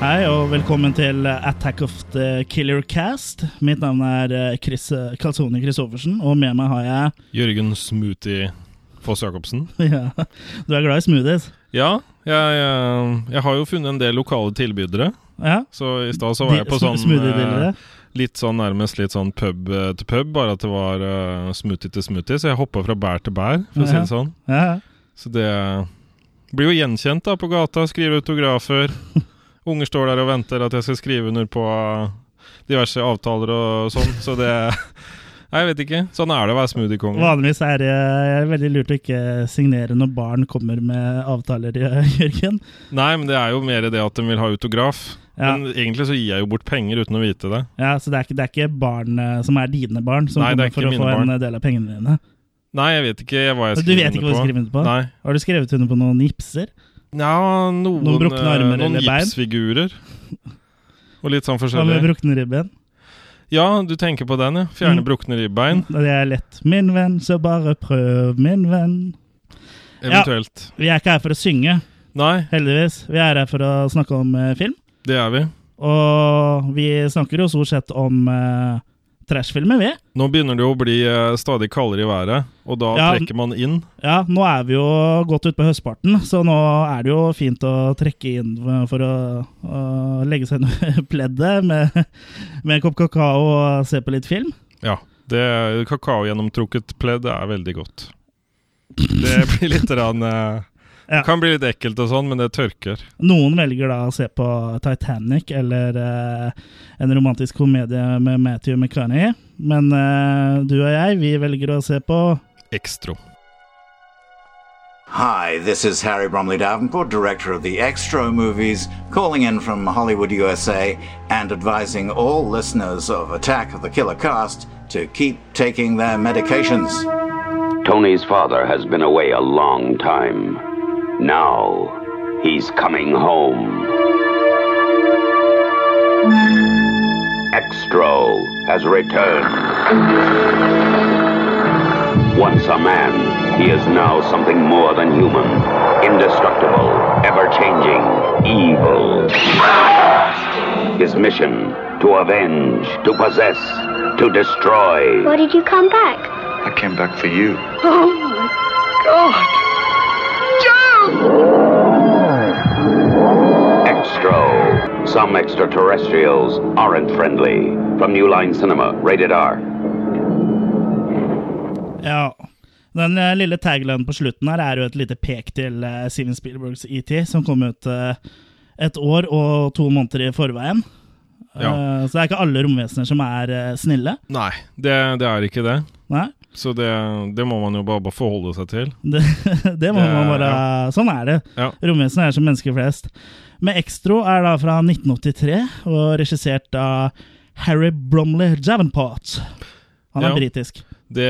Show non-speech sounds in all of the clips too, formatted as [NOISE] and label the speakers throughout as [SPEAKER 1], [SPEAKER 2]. [SPEAKER 1] Hei, og velkommen til Attack of the Killer Cast. Mitt navn er eh, Chris eh, Kalsone Christoffersen, og med meg har jeg [LAUGHS]
[SPEAKER 2] Jørgen Smoothie Foss Jacobsen.
[SPEAKER 1] ja, Du er glad i smoothies?
[SPEAKER 2] Ja, jeg, jeg, jeg har jo funnet en del lokale tilbydere.
[SPEAKER 1] Ja.
[SPEAKER 2] Så i stad så var jeg på sånn eh,
[SPEAKER 1] Smoothiebildet?
[SPEAKER 2] litt sånn nærmest litt sånn pub eh, til pub, bare at det var eh, smoothie til smoothie. Så jeg hoppa fra bær til bær, for å si
[SPEAKER 1] Ja.
[SPEAKER 2] det sånn.
[SPEAKER 1] Ja, ja.
[SPEAKER 2] Så det eh, blir jo gjenkjent da på gata. Skriver autografer. Unger står der og venter at jeg skal skrive under på eh, diverse avtaler og sånn. Så det [LAUGHS] Nei, jeg vet ikke. Sånn er det å være smoothiekonge.
[SPEAKER 1] Vanligvis er det eh, veldig lurt å ikke signere når barn kommer med avtaler, eh, [LAUGHS] Jørgen.
[SPEAKER 2] Nei, men det er jo mer det at de vil ha autograf.
[SPEAKER 1] Ja,
[SPEAKER 2] Men egentlig så gir jeg jo bort penger uten å vite det.
[SPEAKER 1] ja Så det er ikke, det er ikke barn eh, som er dine barn, som
[SPEAKER 2] Nei, det er
[SPEAKER 1] kommer for å
[SPEAKER 2] ikke mine
[SPEAKER 1] få
[SPEAKER 2] barn.
[SPEAKER 1] en eh, del av pengene dine?
[SPEAKER 2] Nei, jeg vet ikke hva jeg
[SPEAKER 1] Du
[SPEAKER 2] skriver
[SPEAKER 1] vet ikke hva du skriver under på?
[SPEAKER 2] Nei.
[SPEAKER 1] Har du skrevet under på noen gipser?
[SPEAKER 2] Ja, noen,
[SPEAKER 1] Noen brukne armer
[SPEAKER 2] eh, noen
[SPEAKER 1] eller bein?
[SPEAKER 2] gipsfigurer. [LAUGHS] Og litt sånn
[SPEAKER 1] Hva med
[SPEAKER 2] forskjellig.
[SPEAKER 1] brukne ribben?
[SPEAKER 2] Ja, du tenker på den, ja. Fjerne
[SPEAKER 1] Mm.
[SPEAKER 2] brukne ribbein,
[SPEAKER 1] Det er lett. Min venn, så bare prøv, min venn.
[SPEAKER 2] eventuelt.
[SPEAKER 1] Vi er ikke her for å synge,
[SPEAKER 2] Nei,
[SPEAKER 1] heldigvis. Vi er her for å snakke om eh, film.
[SPEAKER 2] det er vi.
[SPEAKER 1] Og vi snakker jo stort sett om eh, trashfilmer, vi.
[SPEAKER 2] Nå begynner det jo å bli eh, stadig kaldere i været, og da
[SPEAKER 1] Ja.
[SPEAKER 2] trekker man inn.
[SPEAKER 1] Ja, nå er vi jo godt ute på høstparten, så nå er det jo fint å trekke inn for å, å legge seg under [LAUGHS] pleddet med, med en kopp kakao og se på litt film.
[SPEAKER 2] Ja. Det, Kakao-gjennomtrukket pledd er veldig godt. Det
[SPEAKER 1] [LAUGHS]
[SPEAKER 2] blir litt rann, eh,
[SPEAKER 1] Ja.
[SPEAKER 2] Kan bli litt ekkelt og sånn, men det tørker.
[SPEAKER 1] Noen velger da å se på Titanic eller eh, en romantisk komedie med Matthew McCarney. Men eh, du og jeg, vi velger å se på
[SPEAKER 2] Ekstro.
[SPEAKER 3] Hi, this is Harry Bromley Davenport, director of the Extro movies, calling in from Hollywood, USA, and advising all listeners of Attack of the Killer Cast to keep taking their medications.
[SPEAKER 4] Tony's father has been away a long time. Now, he's coming home. Extro has returned. Once a man, he is now something more than human. Indestructible, ever changing, evil. His mission to avenge, to possess, to destroy.
[SPEAKER 5] Why did you come back?
[SPEAKER 6] I came back for you.
[SPEAKER 5] Oh my god. Joe!
[SPEAKER 4] Extro. Some extraterrestrials aren't friendly. From New Line Cinema, rated R.
[SPEAKER 1] Ja. Den eh, lille taglinen på slutten her er jo et lite pek til eh, Steven Spielbergs ET, som kom ut eh, et år og to måneder i forveien.
[SPEAKER 2] Ja.
[SPEAKER 1] Eh, så det er ikke alle romvesener som er eh, snille.
[SPEAKER 2] Nei, det, det er ikke det.
[SPEAKER 1] Nei.
[SPEAKER 2] Så det, det må man jo bare, bare forholde seg til.
[SPEAKER 1] Det, [LAUGHS] det må
[SPEAKER 2] Det-
[SPEAKER 1] man bare Sånn er det.
[SPEAKER 2] Ja.
[SPEAKER 1] Romvesener er som mennesker flest. Men Extro er da fra 1983 og regissert av Harry Bromley Davenport. Han er
[SPEAKER 2] Ja.
[SPEAKER 1] britisk.
[SPEAKER 2] Det,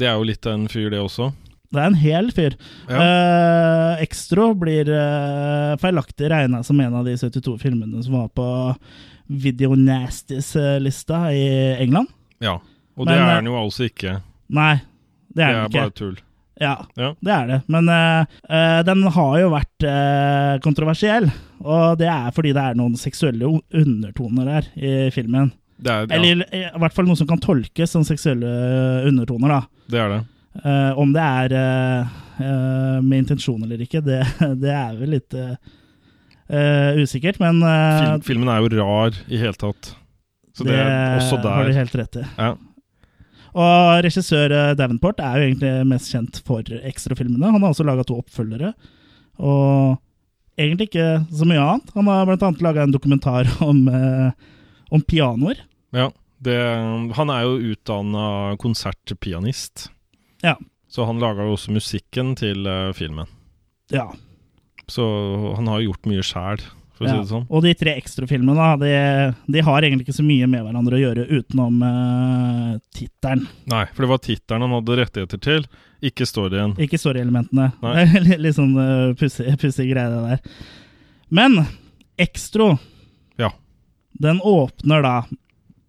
[SPEAKER 2] det er jo litt av en fyr, det også.
[SPEAKER 1] Det er en hel fyr. Eh, Extro blir eh, feilaktig regna som en av de 72 filmene som var på Videonasties-lista i England.
[SPEAKER 2] Ja.
[SPEAKER 1] Men,
[SPEAKER 2] Og det
[SPEAKER 1] eh,
[SPEAKER 2] er han jo altså ikke.
[SPEAKER 1] Nei, det
[SPEAKER 2] Det
[SPEAKER 1] er
[SPEAKER 2] er
[SPEAKER 1] den ikke.
[SPEAKER 2] bare tull.
[SPEAKER 1] Ja,
[SPEAKER 2] Ja.
[SPEAKER 1] det er det. Men eh, eh, den har jo vært eh, kontroversiell. Og det er fordi det er noen seksuelle o- undertoner der i filmen.
[SPEAKER 2] Det er, ja,
[SPEAKER 1] Eller eh, i hvert fall noe som kan tolkes som seksuelle eh, undertoner, da.
[SPEAKER 2] det er det.
[SPEAKER 1] Eh, om det er eh, eh, med intensjon eller ikke, det, [LAUGHS] det er vel litt eh, eh, usikkert. Men eh,
[SPEAKER 2] Film, filmen er jo rar i hele tatt. Så det, er også
[SPEAKER 1] har du
[SPEAKER 2] der.
[SPEAKER 1] helt rett i.
[SPEAKER 2] Ja.
[SPEAKER 1] Og regissør eh, Davenport er jo egentlig mest kjent for ekstrafilmene. Han har også laga to oppfølgere, og egentlig ikke så mye annet. Han har blant annet laga en dokumentar [LAUGHS] om, eh, om pianoer.
[SPEAKER 2] Ja, det, han er jo utdanna konsertpianist.
[SPEAKER 1] Ja.
[SPEAKER 2] Så han laga jo også musikken til eh, filmen.
[SPEAKER 1] Ja,
[SPEAKER 2] Så han har jo gjort mye sjæl, for å
[SPEAKER 1] ja.
[SPEAKER 2] si det sånn.
[SPEAKER 1] Og de tre ekstrafilmene da, de, de har egentlig ikke så mye med hverandre å gjøre utenom uh, tittelen.
[SPEAKER 2] Nei, for det var tittelen han hadde rettigheter til, ikke storyen.
[SPEAKER 1] Ikke storyelementene.
[SPEAKER 2] Nei.
[SPEAKER 1] Det er [LAUGHS] litt- Litt sånn eh, pussig pussig greie, det der. Men Extro,
[SPEAKER 2] Ja.
[SPEAKER 1] den åpner da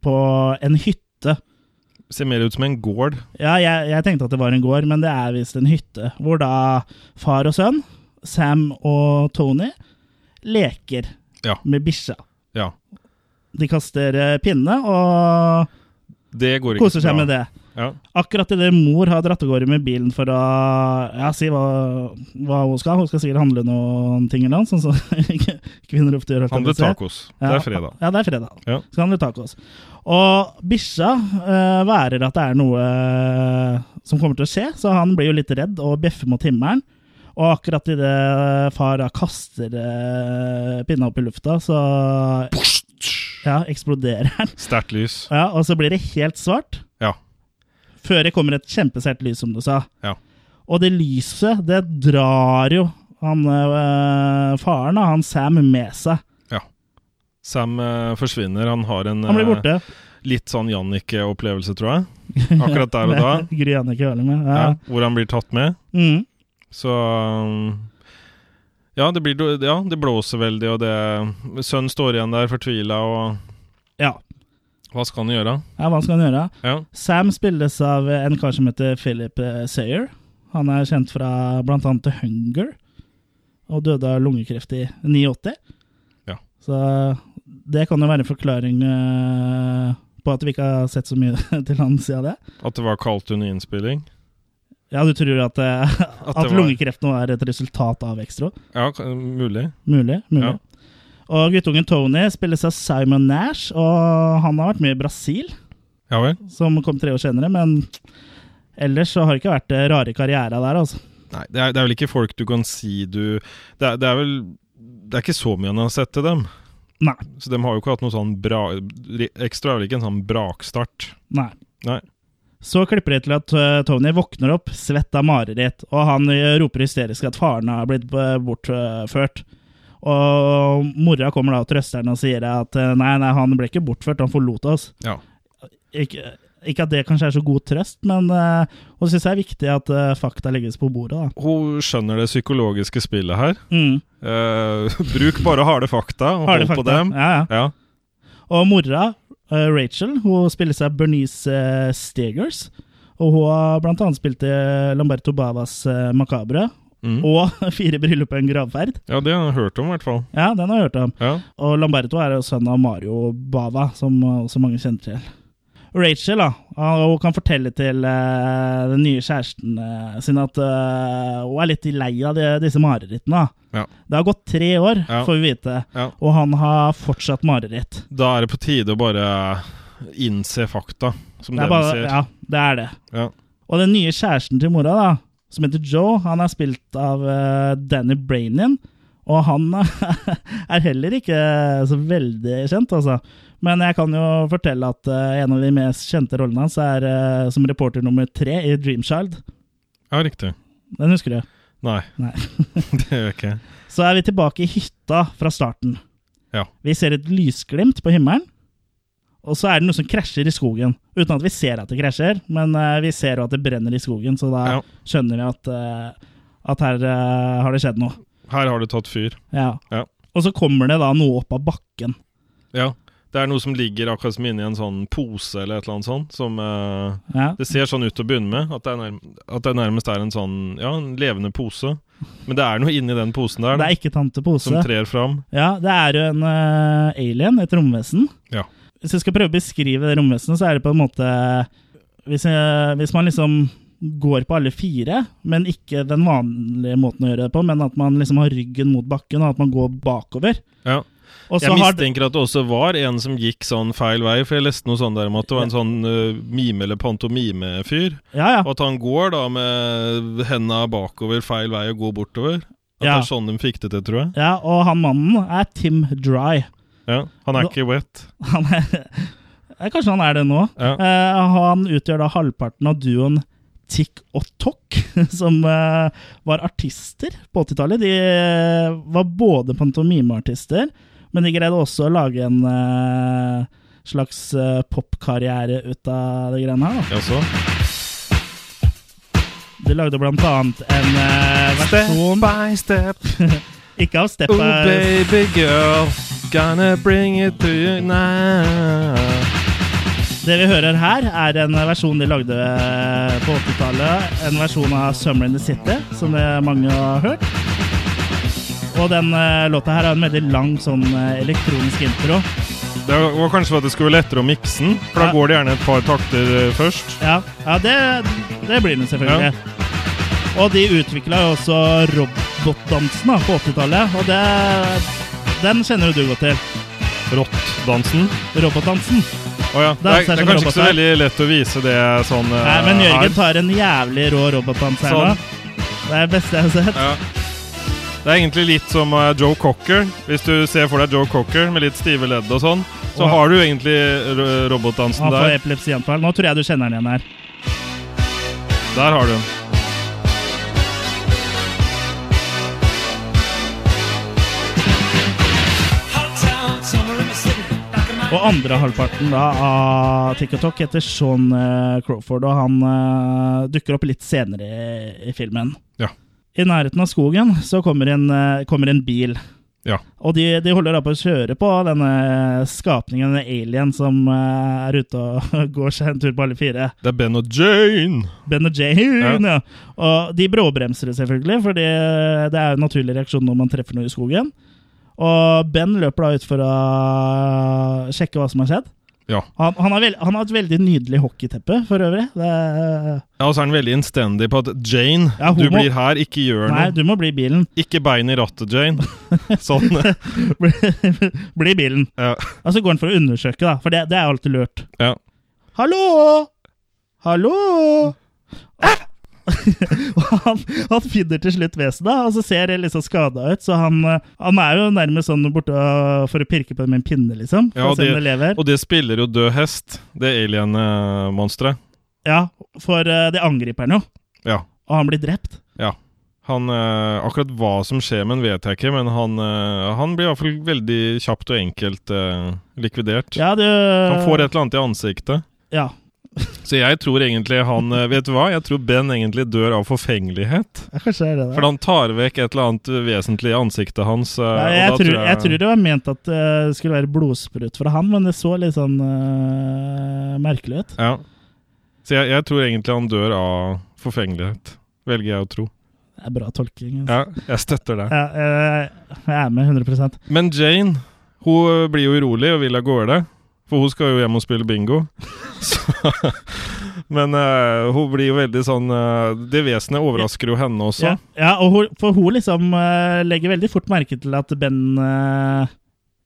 [SPEAKER 1] på en hytte.
[SPEAKER 2] Ser mer ut som en gård.
[SPEAKER 1] Ja, jeg, jeg tenkte at det var en gård, men det er visst en hytte. Hvor da far og sønn, Sam og Tony, leker
[SPEAKER 2] Ja.
[SPEAKER 1] med bikkja.
[SPEAKER 2] Ja.
[SPEAKER 1] De kaster eh, pinne og
[SPEAKER 2] Det går ikke
[SPEAKER 1] koser seg med det.
[SPEAKER 2] Ja.
[SPEAKER 1] Akkurat idet mor har dratt av gårde med bilen for å ja, si hva, hva hun skal Hun skal sikkert handle noen ting eller noe, sånn som [LAUGHS] kvinner ofte gjør. holdt jeg på
[SPEAKER 2] Handle
[SPEAKER 1] å si.
[SPEAKER 2] tacos. Det er fredag.
[SPEAKER 1] Ja, det er fredag.
[SPEAKER 2] Ja.
[SPEAKER 1] Skal handle tacos. Og bikkja eh, værer at det er noe eh, som kommer til å skje, så han blir jo litt redd og bjeffer mot himmelen. Og akkurat idet eh, far da kaster eh, pinna opp i lufta, så ja, eksploderer den. [LAUGHS]
[SPEAKER 2] Sterkt lys.
[SPEAKER 1] Ja, og så blir det helt svart.
[SPEAKER 2] Ja.
[SPEAKER 1] Før det kommer et kjempesert lys, som du sa.
[SPEAKER 2] Ja.
[SPEAKER 1] Og det lyset, det drar jo han eh, faren, da, han Sam, med seg.
[SPEAKER 2] ja. Sam eh, forsvinner. Han har en
[SPEAKER 1] Han blir
[SPEAKER 2] eh,
[SPEAKER 1] borte.
[SPEAKER 2] litt sånn Jannicke-opplevelse, tror jeg.
[SPEAKER 1] [LAUGHS]
[SPEAKER 2] Akkurat der og da.
[SPEAKER 1] Med Gry Jannicke Hørling med. Ja.
[SPEAKER 2] Ja, hvor han blir tatt med.
[SPEAKER 1] Mm.
[SPEAKER 2] Så um, ja det, blir, ja, det blåser veldig, og det Sønnen står igjen der fortvila, og
[SPEAKER 1] ja.
[SPEAKER 2] hva skal han gjøre?
[SPEAKER 1] ja, hva skal han gjøre?
[SPEAKER 2] Ja.
[SPEAKER 1] Sam spilles av en kar som heter Philip eh, Sayer. Han er kjent fra blant annet The Hunger, og døde av lungekreft i 89.
[SPEAKER 2] Ja.
[SPEAKER 1] Så det kan jo være en forklaring eh, på at vi ikke har sett så mye [LAUGHS] til han siden det.
[SPEAKER 2] At det var kaldt under innspilling?
[SPEAKER 1] Ja, du tror at, eh, at,
[SPEAKER 2] var-
[SPEAKER 1] lungekreft nå er et resultat av Extra?
[SPEAKER 2] Ja, k- mulig.
[SPEAKER 1] Mulig. mulig.
[SPEAKER 2] Ja.
[SPEAKER 1] Og guttungen Tony spilles av Simon Nash, og han har vært med i Brasil,
[SPEAKER 2] Ja vel?
[SPEAKER 1] som kom tre år senere, men ellers så har det ikke vært det rare karriera der, altså.
[SPEAKER 2] Nei, det er, det er vel ikke folk du kan si du Det er, det er vel Det er ikke så mye han har sett til dem.
[SPEAKER 1] Nei.
[SPEAKER 2] Så de har jo ikke hatt noe sånn bra Ekstra er vel ikke en sånn brakstart.
[SPEAKER 1] nei.
[SPEAKER 2] Nei.
[SPEAKER 1] Så klipper de til at eh, Tony våkner opp, svett av mareritt, og han eh, roper hysterisk at faren har blitt eh, bortført. Og mora kommer da og trøster han og sier at eh, nei, nei, han ble ikke bortført, han forlot oss.
[SPEAKER 2] Ja.
[SPEAKER 1] Ikke, ikke at det kanskje er så god trøst, men eh, hun syns det er viktig at eh, fakta legges på bordet, da.
[SPEAKER 2] Hun skjønner det psykologiske spillet her.
[SPEAKER 1] Mm.
[SPEAKER 2] Eh, [LAUGHS] bruk bare harde fakta og
[SPEAKER 1] Harde
[SPEAKER 2] hold på
[SPEAKER 1] fakta.
[SPEAKER 2] dem.
[SPEAKER 1] Ja, ja.
[SPEAKER 2] Ja.
[SPEAKER 1] Og mora, eh, Rachel, hun spiller seg Bernice eh, Stegers. Og hun har blant annet spilt i Lamberto Bavas eh, Macabre.
[SPEAKER 2] Mm.
[SPEAKER 1] Og [LAUGHS] Fire bryllup og en gravferd.
[SPEAKER 2] ja, det har jeg hørt om, i hvert fall.
[SPEAKER 1] Ja, den har jeg hørt om.
[SPEAKER 2] Ja.
[SPEAKER 1] Og Lamberto er jo sønn av Mario Bava, som eh, også mange kjenner til. Rachel da, eh, hun kan fortelle til eh, den nye kjæresten eh, sin at eh, hun er litt lei av de, disse marerittene. da.
[SPEAKER 2] Ja.
[SPEAKER 1] Det har gått tre år,
[SPEAKER 2] Ja.
[SPEAKER 1] får vi vite,
[SPEAKER 2] Ja.
[SPEAKER 1] og han har fortsatt mareritt.
[SPEAKER 2] Da er det på tide å bare innse fakta, som
[SPEAKER 1] Det
[SPEAKER 2] dem
[SPEAKER 1] er bare,
[SPEAKER 2] ser.
[SPEAKER 1] ja, det er det.
[SPEAKER 2] Ja.
[SPEAKER 1] Og den nye kjæresten til mora, da, som heter Joe, han er spilt av eh, Danny Brainin. Og han [LAUGHS] er heller ikke så veldig kjent, altså. Men jeg kan jo fortelle at eh, en av de mest kjente rollene hans er eh, som reporter nummer tre i Dreamchild.
[SPEAKER 2] ja, riktig.
[SPEAKER 1] Den husker du?
[SPEAKER 2] Nei,
[SPEAKER 1] Nei.
[SPEAKER 2] [LAUGHS] det gjør jeg ikke.
[SPEAKER 1] Så er vi tilbake i hytta fra starten.
[SPEAKER 2] Ja.
[SPEAKER 1] Vi ser et lysglimt på himmelen, og så er det noe som krasjer i skogen. Uten at vi ser at det krasjer, men eh, vi ser jo at det brenner i skogen, så da
[SPEAKER 2] Ja.
[SPEAKER 1] skjønner vi at, eh, at her eh, har det skjedd noe.
[SPEAKER 2] Her har du tatt fyr.
[SPEAKER 1] Ja.
[SPEAKER 2] Ja.
[SPEAKER 1] Og så kommer det da noe opp av bakken.
[SPEAKER 2] Ja. Det er noe som ligger akkurat som inni en sånn pose eller et eller annet sånt. Som, eh,
[SPEAKER 1] Ja.
[SPEAKER 2] det ser sånn ut til å begynne med, at det, er nærm at det nærmest er en sånn ja, en levende pose. Men det er noe inni den posen der
[SPEAKER 1] Det er ikke tante Pose.
[SPEAKER 2] som trer fram.
[SPEAKER 1] Ja, det er jo en eh, alien, et romvesen.
[SPEAKER 2] Ja.
[SPEAKER 1] Hvis jeg skal prøve å beskrive det romvesenet, så er det på en måte hvis, jeg, hvis man liksom går på alle fire, men ikke den vanlige måten å gjøre det på, men at man liksom har ryggen mot bakken, og at man går bakover.
[SPEAKER 2] ja.
[SPEAKER 1] Og så
[SPEAKER 2] Jeg
[SPEAKER 1] har det-
[SPEAKER 2] mistenker at det også var en som gikk sånn feil vei, for jeg leste noe sånn der om at det var en sånn eh, mime- eller pantomimefyr.
[SPEAKER 1] ja, ja.
[SPEAKER 2] Og at han går da med henda bakover feil vei og går bortover. At
[SPEAKER 1] Ja.
[SPEAKER 2] det er sånn de fikk det til, tror jeg.
[SPEAKER 1] ja, og han mannen er Tim Dry.
[SPEAKER 2] Ja. Han er
[SPEAKER 1] Nå-
[SPEAKER 2] ikke wet.
[SPEAKER 1] Han er, Ja, kanskje han er det nå.
[SPEAKER 2] Ja.
[SPEAKER 1] Eh, han utgjør da halvparten av duoen Tikk og Tokk, [LAUGHS] som eh, var artister på 80-tallet. De eh, var både pantomimeartister, men de greide også å lage en eh, slags eh, popkarriere ut av det greiene her. Da.
[SPEAKER 2] Jaså?
[SPEAKER 1] De lagde blant annet en eh, versjon
[SPEAKER 2] by step,
[SPEAKER 1] Ikke av Step By
[SPEAKER 2] Oh, girl, gonna bring it to you now.
[SPEAKER 1] Det vi hører her, er en versjon de lagde eh, på 80-tallet. En versjon av Summer in the City, som det mange har hørt. Og den eh, låta her har en veldig lang sånn eh, elektronisk intro.
[SPEAKER 2] Det var kanskje for at det skulle være lettere å mikse den, for da
[SPEAKER 1] Ja.
[SPEAKER 2] går det gjerne et par takter eh, først.
[SPEAKER 1] Ja, ja det, det blir den selvfølgelig. Og de utvikla jo også robotdansen da, på 80-tallet, og det, den kjenner jo du godt til.
[SPEAKER 2] Rottdansen.
[SPEAKER 1] Robotdansen.
[SPEAKER 2] Å ja. Det
[SPEAKER 1] Danser
[SPEAKER 2] er, det er
[SPEAKER 1] som
[SPEAKER 2] kanskje ikke så
[SPEAKER 1] roboter.
[SPEAKER 2] veldig lett å vise det sånn eh,
[SPEAKER 1] Nei, men Jørgen
[SPEAKER 2] her.
[SPEAKER 1] tar en jævlig rå robotdans her
[SPEAKER 2] Sånn.
[SPEAKER 1] nå. Det er det beste jeg har sett.
[SPEAKER 2] Ja. Det er egentlig litt som eh, Joe Cocker. Hvis du ser for deg Joe Cocker med litt stive ledd og sånn, så
[SPEAKER 1] Og-
[SPEAKER 2] har du egentlig eh, ro- robotdansen
[SPEAKER 1] Han får
[SPEAKER 2] der.
[SPEAKER 1] epilepsianfall. Nå tror jeg du kjenner den igjen her.
[SPEAKER 2] Der har du den.
[SPEAKER 1] Og andre halvparten da av TikTok heter Sean eh, Crawford, og han eh, dukker opp litt senere i, i filmen.
[SPEAKER 2] Ja.
[SPEAKER 1] I nærheten av skogen så kommer en, eh, kommer en bil.
[SPEAKER 2] Ja.
[SPEAKER 1] Og de, de holder da på å kjøre på denne skapningen, denne alien som eh, er ute og [LAUGHS] går seg en tur på alle fire.
[SPEAKER 2] Det er Ben og Jane.
[SPEAKER 1] Ben og Jane, [LAUGHS] ja. Og de bråbremser det selvfølgelig, for det, det er jo en naturlig reaksjon når man treffer noe i skogen. Og Ben løper da ut for å sjekke hva som har skjedd.
[SPEAKER 2] Ja.
[SPEAKER 1] Han, han, har vel- han har et veldig nydelig hockeyteppe for øvrig. Det, er-
[SPEAKER 2] Ja, Og så er han veldig innstendig på at Jane,
[SPEAKER 1] Ja, homo.
[SPEAKER 2] du blir her, ikke gjør
[SPEAKER 1] nei,
[SPEAKER 2] noe.
[SPEAKER 1] du må bli bilen. [LAUGHS]
[SPEAKER 2] Ikke bein i rattet, Jane. Sånn.
[SPEAKER 1] Bli, bli bilen.
[SPEAKER 2] Ja.
[SPEAKER 1] Og så går han for å undersøke, da, for det, det er alltid lurt.
[SPEAKER 2] ja.
[SPEAKER 1] Hallo! Hallo!
[SPEAKER 2] Ah!
[SPEAKER 1] Og [LAUGHS] han, han finner til slutt vesenet, og så ser det liksom skada ut. Så han, eh, han er jo nærmest sånn borte og- for å pirke på det med en pinne, liksom. For
[SPEAKER 2] Ja,
[SPEAKER 1] å se om
[SPEAKER 2] det-
[SPEAKER 1] det lever.
[SPEAKER 2] Og det spiller jo død hest, det alien-monsteret.
[SPEAKER 1] Ja, for eh, det angriper han jo,
[SPEAKER 2] Ja.
[SPEAKER 1] og han blir drept.
[SPEAKER 2] ja. Han, eh, akkurat hva som skjer med han, vet jeg ikke, men han, eh, han blir iallfall veldig kjapt og enkelt eh, likvidert.
[SPEAKER 1] Ja, eh. det,
[SPEAKER 2] Han får et eller annet i ansiktet.
[SPEAKER 1] Ja,
[SPEAKER 2] Så jeg tror egentlig han eh, Vet du hva? Jeg tror Ben egentlig dør av forfengelighet.
[SPEAKER 1] ja, kanskje det er det. da.
[SPEAKER 2] For han tar vekk et eller annet vesentlig i ansiktet hans. eh,
[SPEAKER 1] Nei,
[SPEAKER 2] og
[SPEAKER 1] jeg,
[SPEAKER 2] da
[SPEAKER 1] tror, jeg tror det var ment at eh, det skulle være blodsprut fra han, men det så litt sånn eh, merkelig ut.
[SPEAKER 2] Ja. Så jeg, jeg tror egentlig han dør av forfengelighet. Velger jeg å tro.
[SPEAKER 1] Det er bra tolking. Altså.
[SPEAKER 2] Ja, jeg støtter det.
[SPEAKER 1] Ja, eh, jeg er med 100
[SPEAKER 2] [LAUGHS] Men Jane, hun øh, blir jo urolig og vil av gårde. For hun skal jo hjem og spille bingo. [LAUGHS] Så, men eh, hun blir jo veldig sånn eh, Det vesenet overrasker jo henne også.
[SPEAKER 1] Ja, ja og hun, for hun liksom eh, legger veldig fort merke til at Ben eh,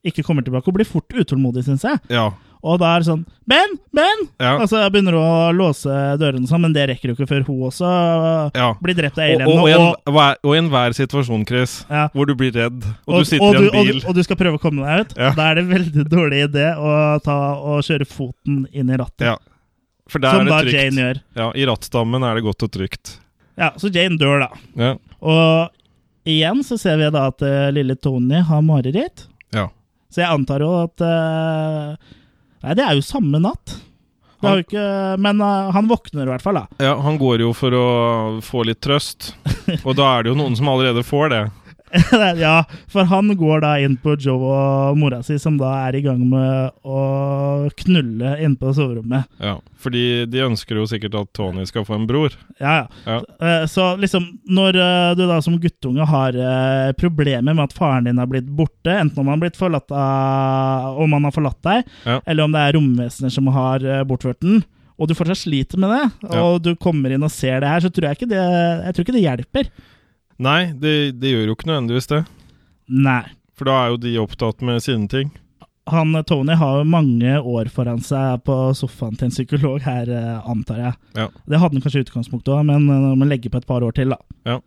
[SPEAKER 1] ikke kommer tilbake. Hun blir fort utålmodig, syns jeg.
[SPEAKER 2] Ja.
[SPEAKER 1] Og da er det sånn Ben! Ben!
[SPEAKER 2] Ja.
[SPEAKER 1] Og så begynner hun å låse dørene og sånn, men det rekker jo ikke før hun også eh,
[SPEAKER 2] ja.
[SPEAKER 1] blir drept av
[SPEAKER 2] Og,
[SPEAKER 1] alienene.
[SPEAKER 2] og, og, i
[SPEAKER 1] og-
[SPEAKER 2] en, hver- og i enhver situasjon, Chris,
[SPEAKER 1] Ja.
[SPEAKER 2] hvor du blir redd, og,
[SPEAKER 1] og-
[SPEAKER 2] du sitter
[SPEAKER 1] og
[SPEAKER 2] i en
[SPEAKER 1] du- og du-
[SPEAKER 2] bil
[SPEAKER 1] Og, du skal prøve å komme deg ut.
[SPEAKER 2] Ja.
[SPEAKER 1] Da er det veldig dårlig idé å ta og kjøre foten inn i rattet.
[SPEAKER 2] ja. For der
[SPEAKER 1] som da
[SPEAKER 2] er det
[SPEAKER 1] Jane
[SPEAKER 2] trygt.
[SPEAKER 1] gjør.
[SPEAKER 2] Ja, I rattstammen er det godt og trygt.
[SPEAKER 1] Ja, Så Jane dør, da.
[SPEAKER 2] Ja.
[SPEAKER 1] Og igjen så ser vi da at eh, lille Tony har mareritt.
[SPEAKER 2] ja.
[SPEAKER 1] Så jeg antar jo at eh, Nei, det er jo samme natt. Det er jo ikke, men eh, han våkner i hvert fall, da. [LAUGHS]
[SPEAKER 2] Ja, han går jo for å få litt trøst, og da er det jo noen som allerede får det.
[SPEAKER 1] ja, For han går da inn på Joe og mora si, som da er i gang med å knulle inne på soverommet.
[SPEAKER 2] Ja, Fordi de ønsker jo sikkert at Tony skal få en bror.
[SPEAKER 1] Ja, ja.
[SPEAKER 2] Ja,
[SPEAKER 1] Eh, Så liksom, når eh, du da som guttunge har eh, problemer med at faren din har blitt borte, enten om han har blitt forlatt av Om han har forlatt deg,
[SPEAKER 2] Ja.
[SPEAKER 1] eller om det er romvesener som har eh, bortført den, og du fortsatt sliter med det,
[SPEAKER 2] Ja.
[SPEAKER 1] og du kommer inn og ser det her, så tror jeg ikke det, jeg tror ikke det hjelper.
[SPEAKER 2] Nei, det, det gjør jo ikke nødvendigvis det.
[SPEAKER 1] Nei.
[SPEAKER 2] For da er jo de opptatt med sine ting.
[SPEAKER 1] Han eh, Tony har jo mange år foran seg på sofaen til en psykolog her, eh, antar jeg.
[SPEAKER 2] Ja.
[SPEAKER 1] Det hadde han kanskje i utgangspunktet òg, men eh, man legger på et par år til, da.
[SPEAKER 2] Ja.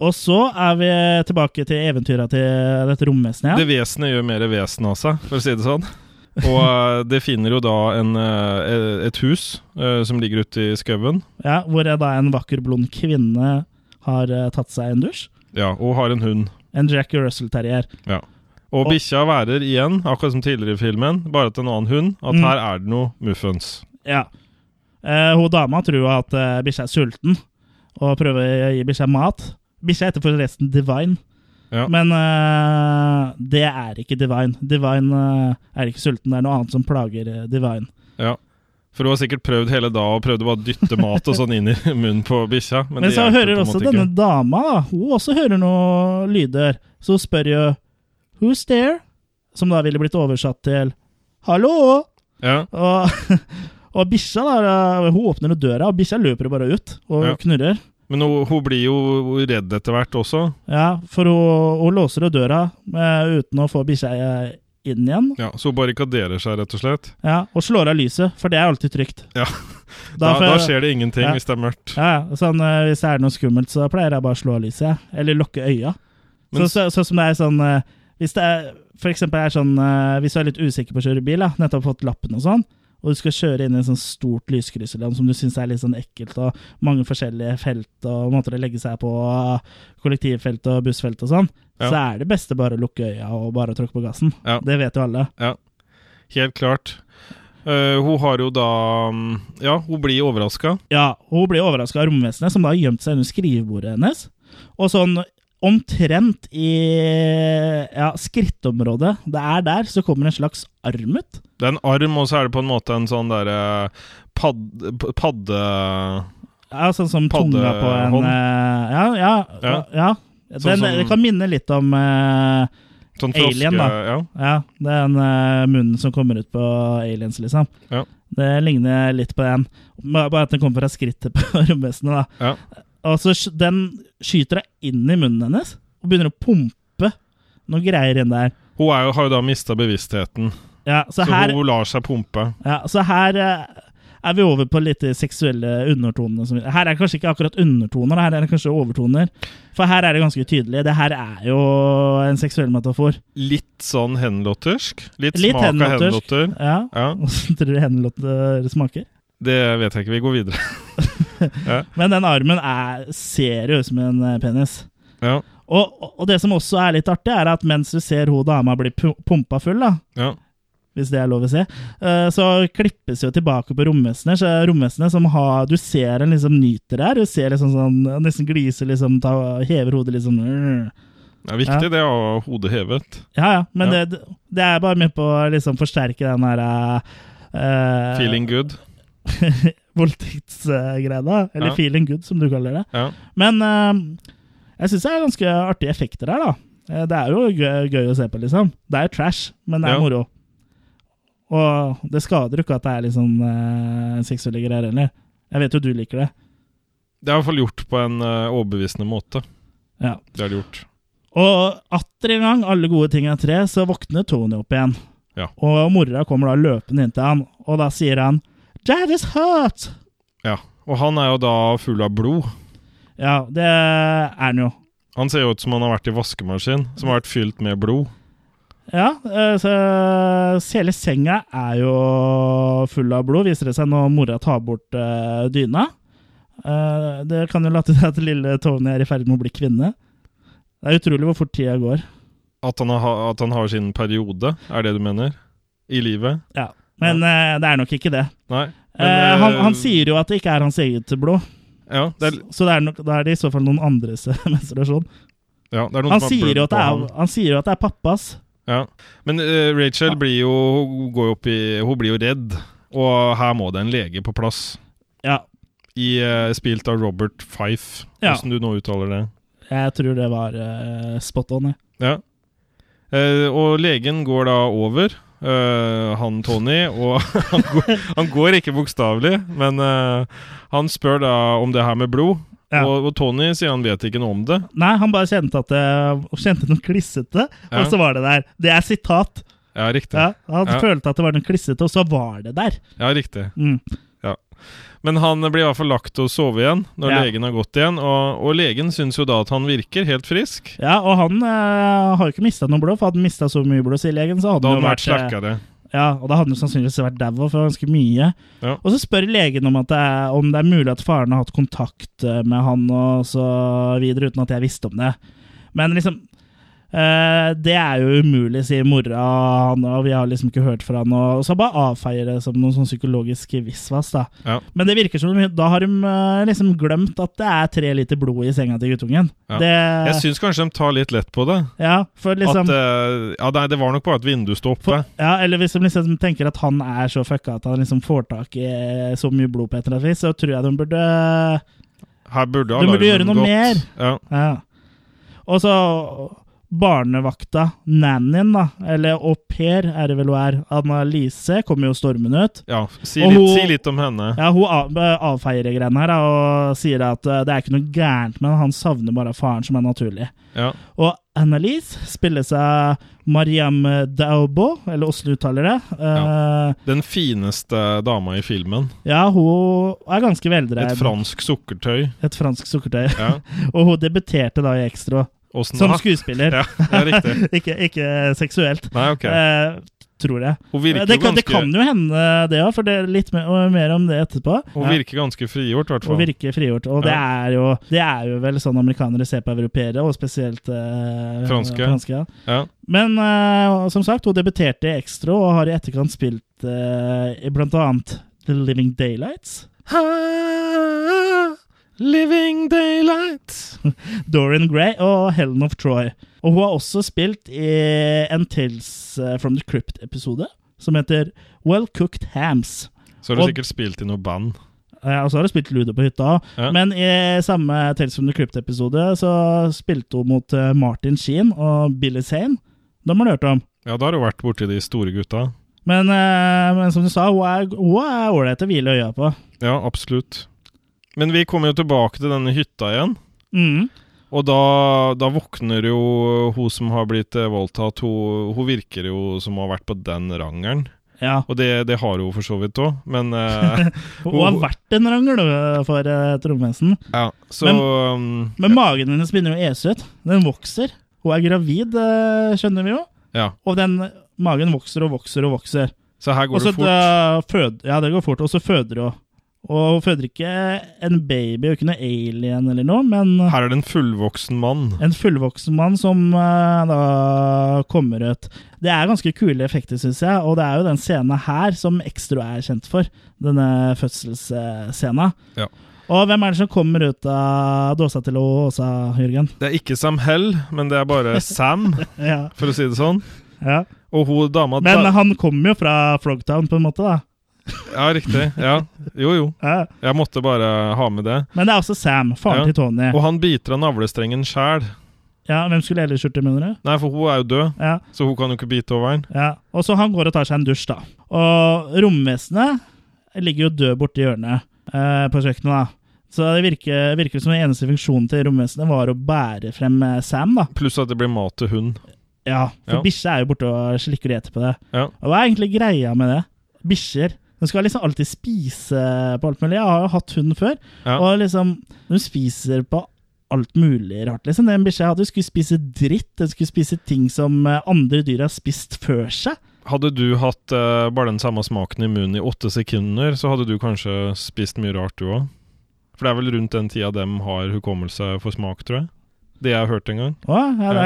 [SPEAKER 1] Og så er vi tilbake til eventyra til dette romvesenet.
[SPEAKER 2] Det
[SPEAKER 1] igjen.
[SPEAKER 2] vesenet gjør mer vesen av seg, for å si det sånn. Og eh, det finner jo da en, eh, et hus eh, som ligger ute i skauen.
[SPEAKER 1] Ja, hvor jeg da en vakker, blond kvinne har eh, tatt seg en dusj.
[SPEAKER 2] Ja, og har en hund.
[SPEAKER 1] En Jack Russell-terrier.
[SPEAKER 2] Ja. Og
[SPEAKER 1] Og-
[SPEAKER 2] bikkja værer igjen, akkurat som tidligere i filmen, bare til en annen hund, at
[SPEAKER 1] Mm.
[SPEAKER 2] her er det noe muffens.
[SPEAKER 1] Ja. Eh, hun dama tror jo at uh, bikkja er sulten, og prøver å gi bikkja mat. Bikkja heter forresten Divine,
[SPEAKER 2] Ja.
[SPEAKER 1] men eh, det er ikke Divine. Divine eh, er ikke sulten, det er noe annet som plager eh, Divine.
[SPEAKER 2] Ja. For hun har sikkert prøvd hele dag og prøvde bare å dytte mat og sånn inn i [LAUGHS] munnen på bikkja.
[SPEAKER 1] Men,
[SPEAKER 2] det
[SPEAKER 1] så
[SPEAKER 2] hjelper på
[SPEAKER 1] hører
[SPEAKER 2] en
[SPEAKER 1] også
[SPEAKER 2] måte
[SPEAKER 1] denne
[SPEAKER 2] ikke.
[SPEAKER 1] dama, da. Hun også hører noen lyder. Så hun spør jo 'Who's there?' Som da ville blitt oversatt til 'Hallo?'
[SPEAKER 2] ja.
[SPEAKER 1] Og, [LAUGHS] og bikkja da, hun åpner jo døra, og bikkja løper jo bare ut og
[SPEAKER 2] Ja.
[SPEAKER 1] knurrer.
[SPEAKER 2] Men hun, hun blir jo redd etter hvert også.
[SPEAKER 1] Ja, for hun, hun låser jo døra eh, uten å få bikkja eh, inn igjen.
[SPEAKER 2] Ja, Så hun barrikaderer seg, rett og slett.
[SPEAKER 1] Ja, og slår av lyset, for det er alltid trygt.
[SPEAKER 2] Ja. Da,
[SPEAKER 1] Da får
[SPEAKER 2] da
[SPEAKER 1] jeg-
[SPEAKER 2] skjer det ingenting
[SPEAKER 1] Ja.
[SPEAKER 2] hvis det er mørkt.
[SPEAKER 1] Ja, ja, sånn, eh, Hvis det er noe skummelt, så pleier jeg bare å slå av lyset. jeg. Eller lukke øya. Så,
[SPEAKER 2] Men-
[SPEAKER 1] så, sånn som det er sånn eh, Hvis det er, for eksempel er sånn eh, Hvis du er litt usikker på å kjøre bil, da, nettopp fått lappen og sånn, og du skal kjøre inn i et sånt stort lyskryss eller noe som du syns er litt sånn ekkelt, og mange forskjellige felt og måter å legge seg på, og kollektivfelt og bussfelt og sånn,
[SPEAKER 2] Ja.
[SPEAKER 1] så er det beste bare å lukke øya og bare å tråkke på gassen.
[SPEAKER 2] Ja.
[SPEAKER 1] Det vet jo alle.
[SPEAKER 2] Helt klart. Eh, hun har jo da mm, Ja, hun blir overraska.
[SPEAKER 1] Ja, hun ble overraska av romvesenet, som da har gjemt seg under skrivebordet hennes. Og sånn omtrent i ja, skrittområdet det er der, så kommer en slags arm ut.
[SPEAKER 2] Det er en arm, og så er det på en måte en sånn derre padde... padde
[SPEAKER 1] Ja, sånn som
[SPEAKER 2] Padde-
[SPEAKER 1] tunga på en
[SPEAKER 2] hånd.
[SPEAKER 1] eh, Ja, ja. ja.
[SPEAKER 2] Ja.
[SPEAKER 1] Den,
[SPEAKER 2] Sånn som-
[SPEAKER 1] det kan minne litt om eh,
[SPEAKER 2] sånn
[SPEAKER 1] Alien,
[SPEAKER 2] froske-
[SPEAKER 1] da.
[SPEAKER 2] Ja.
[SPEAKER 1] ja, den eh, munnen som kommer ut på aliens, liksom.
[SPEAKER 2] Ja.
[SPEAKER 1] Det ligner litt på den. Bare bare at den kommer fra skrittet på [LAUGHS] romvesenet, da.
[SPEAKER 2] Ja.
[SPEAKER 1] Og så sk- den skyter deg inn i munnen hennes og begynner å pumpe noe greier inn der.
[SPEAKER 2] Hun er jo, har jo da mista bevisstheten,
[SPEAKER 1] Ja, så,
[SPEAKER 2] så,
[SPEAKER 1] her,
[SPEAKER 2] hun lar seg pumpe.
[SPEAKER 1] ja, så her eh, er vi over på litt de seksuelle undertonene. Som, her er det kanskje ikke akkurat undertoner, her er det kanskje overtoner. For her er det ganske tydelig. Det her er jo en seksuell metafor.
[SPEAKER 2] Litt sånn henlottersk. Litt,
[SPEAKER 1] Litt
[SPEAKER 2] smak av
[SPEAKER 1] henlottersk.
[SPEAKER 2] henlotter.
[SPEAKER 1] Ja. [LAUGHS]
[SPEAKER 2] Ja,
[SPEAKER 1] Åssen tror du henlotter smaker?
[SPEAKER 2] det vet jeg ikke. Vi går videre. [LAUGHS]
[SPEAKER 1] Men den armen er, ser jo ut som en eh, penis.
[SPEAKER 2] Ja,
[SPEAKER 1] Og, og- og det som også er litt artig, er at mens du ser hun dama bli pu- pumpa full, da,
[SPEAKER 2] ja.
[SPEAKER 1] hvis det er lov å si. Eh, Så klippes jo tilbake på romvesener. Så romvesener som har Du ser en liksom nyter her. Du ser liksom sånn han Nesten gliser, liksom. Ta, hever hodet liksom. mm.
[SPEAKER 2] Det er viktig, det å ha hodet hevet.
[SPEAKER 1] Ja, ja. Men
[SPEAKER 2] Ja.
[SPEAKER 1] Det, det er bare med på å liksom forsterke den her eh,
[SPEAKER 2] Feeling good.
[SPEAKER 1] Voldtektsgreia. da. Eller
[SPEAKER 2] Ja.
[SPEAKER 1] feeling good, som du kaller det.
[SPEAKER 2] Ja.
[SPEAKER 1] Men eh, jeg syns det er ganske artige effekter her, da. Eh, Det er jo gøy, gøy å se på, liksom. Det er jo trash, men det er
[SPEAKER 2] Ja.
[SPEAKER 1] moro. Og det skader jo ikke at det er litt sånn eh, seksuelle greier heller. Jeg vet jo du liker det.
[SPEAKER 2] Det er i hvert fall gjort på en eh, overbevisende måte.
[SPEAKER 1] Ja.
[SPEAKER 2] Det er det gjort.
[SPEAKER 1] Og atter en gang, alle gode ting er tre, så våkner Tony opp igjen.
[SPEAKER 2] Ja.
[SPEAKER 1] Og mora kommer da løpende inn til han, og da sier han Dad is hurt!
[SPEAKER 2] Ja. Og han er jo da full av blod.
[SPEAKER 1] Ja, det er han jo.
[SPEAKER 2] Han ser jo ut som han har vært i vaskemaskin, som har vært fylt med blod.
[SPEAKER 1] Ja, eh, så så hele senga er jo full av blod, viser det seg når mora tar bort eh, dyna. Eh, det kan jo late [LAUGHS] til at lille Tony er i ferd med å bli kvinne. Det er utrolig hvor fort tida går.
[SPEAKER 2] At han, har, at han har sin periode, er det du mener? I livet?
[SPEAKER 1] Ja, Men eh, det er nok ikke det.
[SPEAKER 2] Nei.
[SPEAKER 1] Eh, han,
[SPEAKER 2] eh,
[SPEAKER 1] han sier jo at det ikke er hans eget blod,
[SPEAKER 2] Ja, det er,
[SPEAKER 1] så det er, nok, da er det i så fall noen andres [LAUGHS] menstruasjon.
[SPEAKER 2] ja, det er noen
[SPEAKER 1] Han
[SPEAKER 2] som har
[SPEAKER 1] sier,
[SPEAKER 2] blod
[SPEAKER 1] jo at det
[SPEAKER 2] på
[SPEAKER 1] er,
[SPEAKER 2] ham.
[SPEAKER 1] han sier jo at det er pappas.
[SPEAKER 2] Ja. Men eh, Rachel blir jo hun går jo opp i Hun blir jo redd, og her må det en lege på plass.
[SPEAKER 1] Ja,
[SPEAKER 2] I, eh, spilt av Robert Fife,
[SPEAKER 1] Ja.
[SPEAKER 2] hvordan du nå uttaler det.
[SPEAKER 1] jeg tror det var eh, spot on. jeg.
[SPEAKER 2] Ja. Eh, og legen går da over, eh, han Tony, og [LAUGHS] han går, han går ikke bokstavelig, men eh, han spør da om det her med blod.
[SPEAKER 1] Ja.
[SPEAKER 2] Og, og Tony sier han vet ikke noe om det.
[SPEAKER 1] Nei, han bare kjente at det kjente noe klissete,
[SPEAKER 2] Ja.
[SPEAKER 1] og så var det der. Det er sitat.
[SPEAKER 2] Ja, riktig. Ja,
[SPEAKER 1] Ja, han
[SPEAKER 2] Ja.
[SPEAKER 1] følte at det var noe klissete, og så var det der.
[SPEAKER 2] riktig.
[SPEAKER 1] Mm.
[SPEAKER 2] Men han blir i hvert fall lagt til å sove igjen når
[SPEAKER 1] Ja.
[SPEAKER 2] legen har gått igjen. Og, og legen syns jo da at han virker helt frisk.
[SPEAKER 1] Ja, Og han eh, har jo ikke mista noe blod, for hadde han mista så mye blod, sier legen, så hadde
[SPEAKER 2] Da
[SPEAKER 1] han jo
[SPEAKER 2] hadde han vært
[SPEAKER 1] vært eh,
[SPEAKER 2] slakkere.
[SPEAKER 1] Ja, og da hadde han sannsynligvis vært daua for ganske mye.
[SPEAKER 2] Ja.
[SPEAKER 1] Og så spør legen om, at det er, om det er mulig at faren har hatt kontakt eh, med han og så videre, uten at jeg visste om det. Men liksom Eh, det er jo umulig, sier mora, han, og vi har liksom ikke hørt fra han. Og så bare avfeier det som noe sånn psykologisk visvas, da.
[SPEAKER 2] Ja.
[SPEAKER 1] Men det virker som da har de eh, liksom glemt at det er tre liter blod i senga til guttungen.
[SPEAKER 2] Ja.
[SPEAKER 1] Det,
[SPEAKER 2] Jeg syns kanskje de tar litt lett på det.
[SPEAKER 1] ja, for liksom,
[SPEAKER 2] At, eh, ja, nei, det var nok bare at vinduet sto oppe.
[SPEAKER 1] ja, eller hvis de liksom tenker at han er så fucka at han liksom får tak i eh, så mye blod på et eller annet vis, så tror jeg de burde
[SPEAKER 2] Her burde
[SPEAKER 1] De burde gjøre
[SPEAKER 2] alarmen
[SPEAKER 1] noe
[SPEAKER 2] gått.
[SPEAKER 1] mer.
[SPEAKER 2] Ja.
[SPEAKER 1] Ja. Og så barnevakta, nannyen, da, eller au pair, er det vel hun er. Annalise kommer jo stormende ut.
[SPEAKER 2] ja. Si,
[SPEAKER 1] Og
[SPEAKER 2] litt,
[SPEAKER 1] hun-
[SPEAKER 2] si litt om henne.
[SPEAKER 1] Ja, Hun av, eh, avfeier de greiene her da, og sier at eh, det er ikke noe gærent, men han savner bare faren, som er naturlig.
[SPEAKER 2] Ja.
[SPEAKER 1] Og Annalise spilles av Mariam Daubo, eller åssen du uttaler det. Eh,
[SPEAKER 2] Den fineste dama i filmen.
[SPEAKER 1] ja, hun er ganske veldreid.
[SPEAKER 2] Et fransk sukkertøy.
[SPEAKER 1] Et fransk sukkertøy. [LAUGHS]
[SPEAKER 2] Ja.
[SPEAKER 1] Og hun debuterte da i Extra
[SPEAKER 2] Åssen
[SPEAKER 1] som
[SPEAKER 2] da?
[SPEAKER 1] skuespiller.
[SPEAKER 2] Ja, det er riktig.
[SPEAKER 1] ikke, ikke seksuelt,
[SPEAKER 2] Nei,
[SPEAKER 1] [LAUGHS]
[SPEAKER 2] ok.
[SPEAKER 1] eh, tror jeg.
[SPEAKER 2] Hun virker,
[SPEAKER 1] Det kan, det
[SPEAKER 2] ganske,
[SPEAKER 1] kan jo hende, det òg, for det er litt mer, og mer om det etterpå.
[SPEAKER 2] hun
[SPEAKER 1] Ja.
[SPEAKER 2] virker ganske frigjort, i
[SPEAKER 1] Og
[SPEAKER 2] hvert fall.
[SPEAKER 1] virker frigjort. Og det, er jo, det er jo vel sånn amerikanere ser på europeere, og spesielt eh,
[SPEAKER 2] Franske.
[SPEAKER 1] ja.
[SPEAKER 2] Ja.
[SPEAKER 1] Men eh, som sagt, hun debuterte i Extra og har i etterkant spilt eh, i blant annet The Living Daylights,
[SPEAKER 2] Living daylight.
[SPEAKER 1] [LAUGHS] Dorian Gray og Helen of Troy. Og hun har også spilt i en Tales eh, from the Crypt-episode som heter Well Cooked Hams.
[SPEAKER 2] Så har du
[SPEAKER 1] Og-
[SPEAKER 2] sikkert spilt i noe band.
[SPEAKER 1] Eh, Og så har hun spilt Ludo på hytta òg.
[SPEAKER 2] Ja.
[SPEAKER 1] Men i samme Tales from the Crypt-episode så spilte hun mot eh, Martin Sheen og Billy Zane. De har du hørt om.
[SPEAKER 2] Ja, da har du vært borti de store gutta.
[SPEAKER 1] Men, eh, men som du sa, hun er hun er ålreit å hvile øya på.
[SPEAKER 2] Ja, absolutt. Men vi kommer jo tilbake til denne hytta igjen.
[SPEAKER 1] Mm.
[SPEAKER 2] Og da, da våkner jo hun som har blitt eh, voldtatt, hun, hun virker jo som hun har vært på den rangeren.
[SPEAKER 1] Ja.
[SPEAKER 2] Og det, det har hun jo for så vidt òg, men
[SPEAKER 1] [LAUGHS]
[SPEAKER 2] eh,
[SPEAKER 1] Hun har vært en rangel øh, for eh, trommesen.
[SPEAKER 2] Ja, så um,
[SPEAKER 1] Men magen hennes begynner å ese ut. Den vokser. Hun er gravid, eh, skjønner vi jo.
[SPEAKER 2] Ja.
[SPEAKER 1] Og den magen vokser og vokser og vokser.
[SPEAKER 2] Så her
[SPEAKER 1] Og
[SPEAKER 2] går
[SPEAKER 1] så
[SPEAKER 2] det fort.
[SPEAKER 1] da fød- Ja, det går fort. Og så føder hun. Og hun føder ikke en baby og ikke noe alien eller noe, men
[SPEAKER 2] Her er det en fullvoksen mann.
[SPEAKER 1] en fullvoksen mann som eh, da kommer ut. Det er ganske kule effekter, syns jeg, og det er jo den scenen her som Extra er kjent for. Denne fødselsscenen.
[SPEAKER 2] Ja.
[SPEAKER 1] Og hvem er det som kommer ut av dåsa til Åsa, Jørgen?
[SPEAKER 2] Det er ikke Sam Hell, men det er bare
[SPEAKER 1] [LAUGHS]
[SPEAKER 2] Sam,
[SPEAKER 1] Ja,
[SPEAKER 2] for å si det sånn.
[SPEAKER 1] ja.
[SPEAKER 2] Og hun dama
[SPEAKER 1] Men
[SPEAKER 2] da-
[SPEAKER 1] han kommer jo fra Frogtown, på en måte, da.
[SPEAKER 2] Ja, riktig. Ja. Jo, jo.
[SPEAKER 1] Ja.
[SPEAKER 2] Jeg måtte bare ha med det.
[SPEAKER 1] Men det er også Sam, faren
[SPEAKER 2] Ja.
[SPEAKER 1] til Tony.
[SPEAKER 2] Og han biter av navlestrengen sjæl.
[SPEAKER 1] Ja, Hvem skulle ellers gjort det, mener du?
[SPEAKER 2] Nei, for hun er jo død,
[SPEAKER 1] Ja.
[SPEAKER 2] så hun kan jo ikke bite over den.
[SPEAKER 1] Ja, og så han går og tar seg en dusj, da. Og romvesenet ligger jo død borti hjørnet eh, på kjøkkenet, da. Så det virker, virker som den eneste funksjonen til romvesenet var å bære frem eh, Sam, da.
[SPEAKER 2] Pluss at det blir mat til hund.
[SPEAKER 1] Ja, for
[SPEAKER 2] Ja.
[SPEAKER 1] bikkja er jo borte og slikker og eter på det.
[SPEAKER 2] Ja.
[SPEAKER 1] Og hva er egentlig greia med det? Bikkjer. De skal liksom alltid spise på alt mulig. Jeg har jo hatt hund før,
[SPEAKER 2] Ja.
[SPEAKER 1] og liksom De spiser på alt mulig rart, liksom. Den bikkja jeg hadde, skulle spise dritt. Den skulle spise ting som eh, andre dyr har spist før seg.
[SPEAKER 2] Hadde du hatt eh, bare den samme smaken i munnen i åtte sekunder, så hadde du kanskje spist mye rart, du òg. For det er vel rundt den tida dem har hukommelse for smak, tror jeg. Det jeg har hørt en gang.
[SPEAKER 1] Å, ja, det,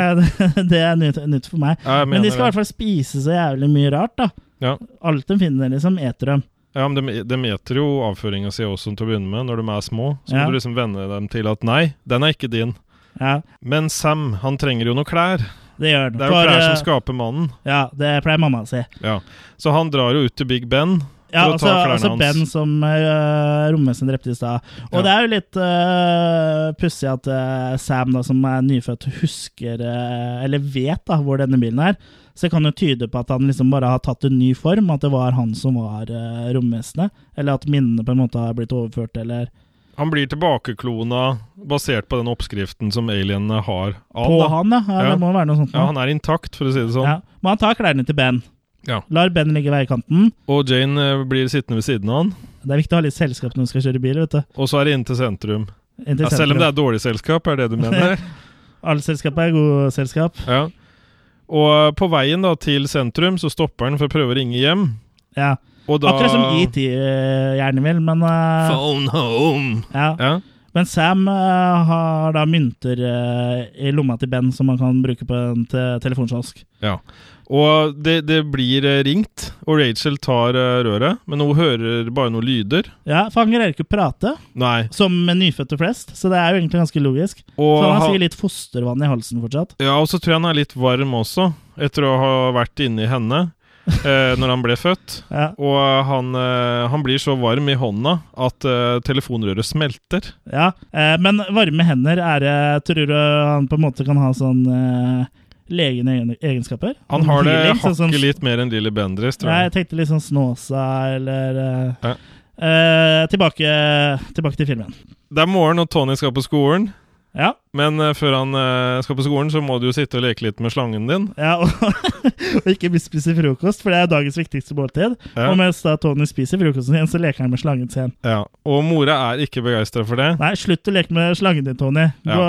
[SPEAKER 1] er, [LAUGHS] det er nytt, nytt for meg.
[SPEAKER 2] Jeg
[SPEAKER 1] Men
[SPEAKER 2] mener
[SPEAKER 1] de skal i hvert fall spise så jævlig mye rart, da.
[SPEAKER 2] Ja.
[SPEAKER 1] Alt de finner, liksom, eter dem.
[SPEAKER 2] Ja, men de, de eter jo avføringa si også til å begynne med, når de er små. Så
[SPEAKER 1] Ja.
[SPEAKER 2] må du liksom venne dem til at nei, den er ikke din.
[SPEAKER 1] Ja,
[SPEAKER 2] Men Sam, han trenger jo noe klær.
[SPEAKER 1] det gjør den.
[SPEAKER 2] Det er jo
[SPEAKER 1] For,
[SPEAKER 2] klær
[SPEAKER 1] eh,
[SPEAKER 2] som skaper mannen.
[SPEAKER 1] Ja, det pleier mamma å si.
[SPEAKER 2] Ja. Så han drar jo ut til Big Ben.
[SPEAKER 1] Ja,
[SPEAKER 2] For å
[SPEAKER 1] altså,
[SPEAKER 2] ta klærne
[SPEAKER 1] altså
[SPEAKER 2] hans.
[SPEAKER 1] Ben som uh, romvesenet drepte i stad. Og
[SPEAKER 2] Ja.
[SPEAKER 1] det er jo litt uh, pussig at eh, Sam, da, som er nyfødt, husker eh, Eller vet da hvor denne bilen er. Så det kan jo tyde på at han liksom bare har tatt en ny form, at det var han som var uh, romvesenet. Eller at minnene på en måte har blitt overført, eller
[SPEAKER 2] Han blir tilbakeklona basert på den oppskriften som alienene har av
[SPEAKER 1] På
[SPEAKER 2] da.
[SPEAKER 1] han, ja. ja.
[SPEAKER 2] Ja.
[SPEAKER 1] Det må være noe sånt.
[SPEAKER 2] Ja,
[SPEAKER 1] nå.
[SPEAKER 2] han er intakt, for å si det sånn.
[SPEAKER 1] Ja. Men han tar klærne til Ben.
[SPEAKER 2] Ja.
[SPEAKER 1] Lar Ben ligge i veikanten.
[SPEAKER 2] Og Jane eh, blir sittende ved siden av han,
[SPEAKER 1] Det er viktig å ha litt selskap når du skal kjøre bil. vet du.
[SPEAKER 2] og så er det inn til sentrum.
[SPEAKER 1] Inn til
[SPEAKER 2] Ja, selv om det
[SPEAKER 1] sentrum.
[SPEAKER 2] er dårlig selskap, er det du
[SPEAKER 1] [LAUGHS]
[SPEAKER 2] mener?
[SPEAKER 1] Alle selskap er gode selskap.
[SPEAKER 2] ja. Og eh, på veien da til sentrum så stopper han for å prøve å ringe hjem.
[SPEAKER 1] Ja. E
[SPEAKER 2] Og da
[SPEAKER 1] Akkurat som ET eh, gjerne vil, men eh,
[SPEAKER 2] Phone home!
[SPEAKER 1] ja.
[SPEAKER 2] Ja.
[SPEAKER 1] Men Sam eh, har da mynter eh, i lomma til Ben som man kan bruke på en te telefonkiosk.
[SPEAKER 2] Ja. Og det, det blir eh, ringt, og Rachel tar eh, røret, men hun hører bare noen lyder.
[SPEAKER 1] Ja, for han greier ikke å prate,
[SPEAKER 2] Nei.
[SPEAKER 1] som med nyfødte flest, så det er jo egentlig ganske logisk. Så
[SPEAKER 2] Og
[SPEAKER 1] han har
[SPEAKER 2] han-
[SPEAKER 1] sikkert litt fostervann i halsen fortsatt.
[SPEAKER 2] Ja, og så tror jeg han er litt varm også, etter å ha vært inni henne eh, når han ble født.
[SPEAKER 1] Ja,
[SPEAKER 2] Og han, eh, han blir så varm i hånda at eh, telefonrøret smelter.
[SPEAKER 1] ja. Eh, Men varme hender, er det Tror du han på en måte kan ha sånn eh, legende egen- egenskaper?
[SPEAKER 2] Han
[SPEAKER 1] Sånn
[SPEAKER 2] har det
[SPEAKER 1] healing, sånn som-
[SPEAKER 2] hakket litt mer enn Lilly Bendriss, tror
[SPEAKER 1] Nei,
[SPEAKER 2] jeg.
[SPEAKER 1] jeg tenkte litt sånn Snåsa eller eh,
[SPEAKER 2] Ja.
[SPEAKER 1] eh, tilbake, tilbake til filmen.
[SPEAKER 2] Det er morgen, og Tony skal på skolen.
[SPEAKER 1] Ja.
[SPEAKER 2] Men eh, før han eh, skal på skolen, så må du jo sitte og leke litt med slangen din.
[SPEAKER 1] Ja, [LAUGHS] og, og ikke spise frokost, for det er dagens viktigste måltid.
[SPEAKER 2] Ja.
[SPEAKER 1] Og mens da Tony spiser frokosten sin, så leker han med slangen sin.
[SPEAKER 2] Ja. Og mora er ikke begeistra for det.
[SPEAKER 1] Nei, slutt å leke med slangen din, Tony. Gå,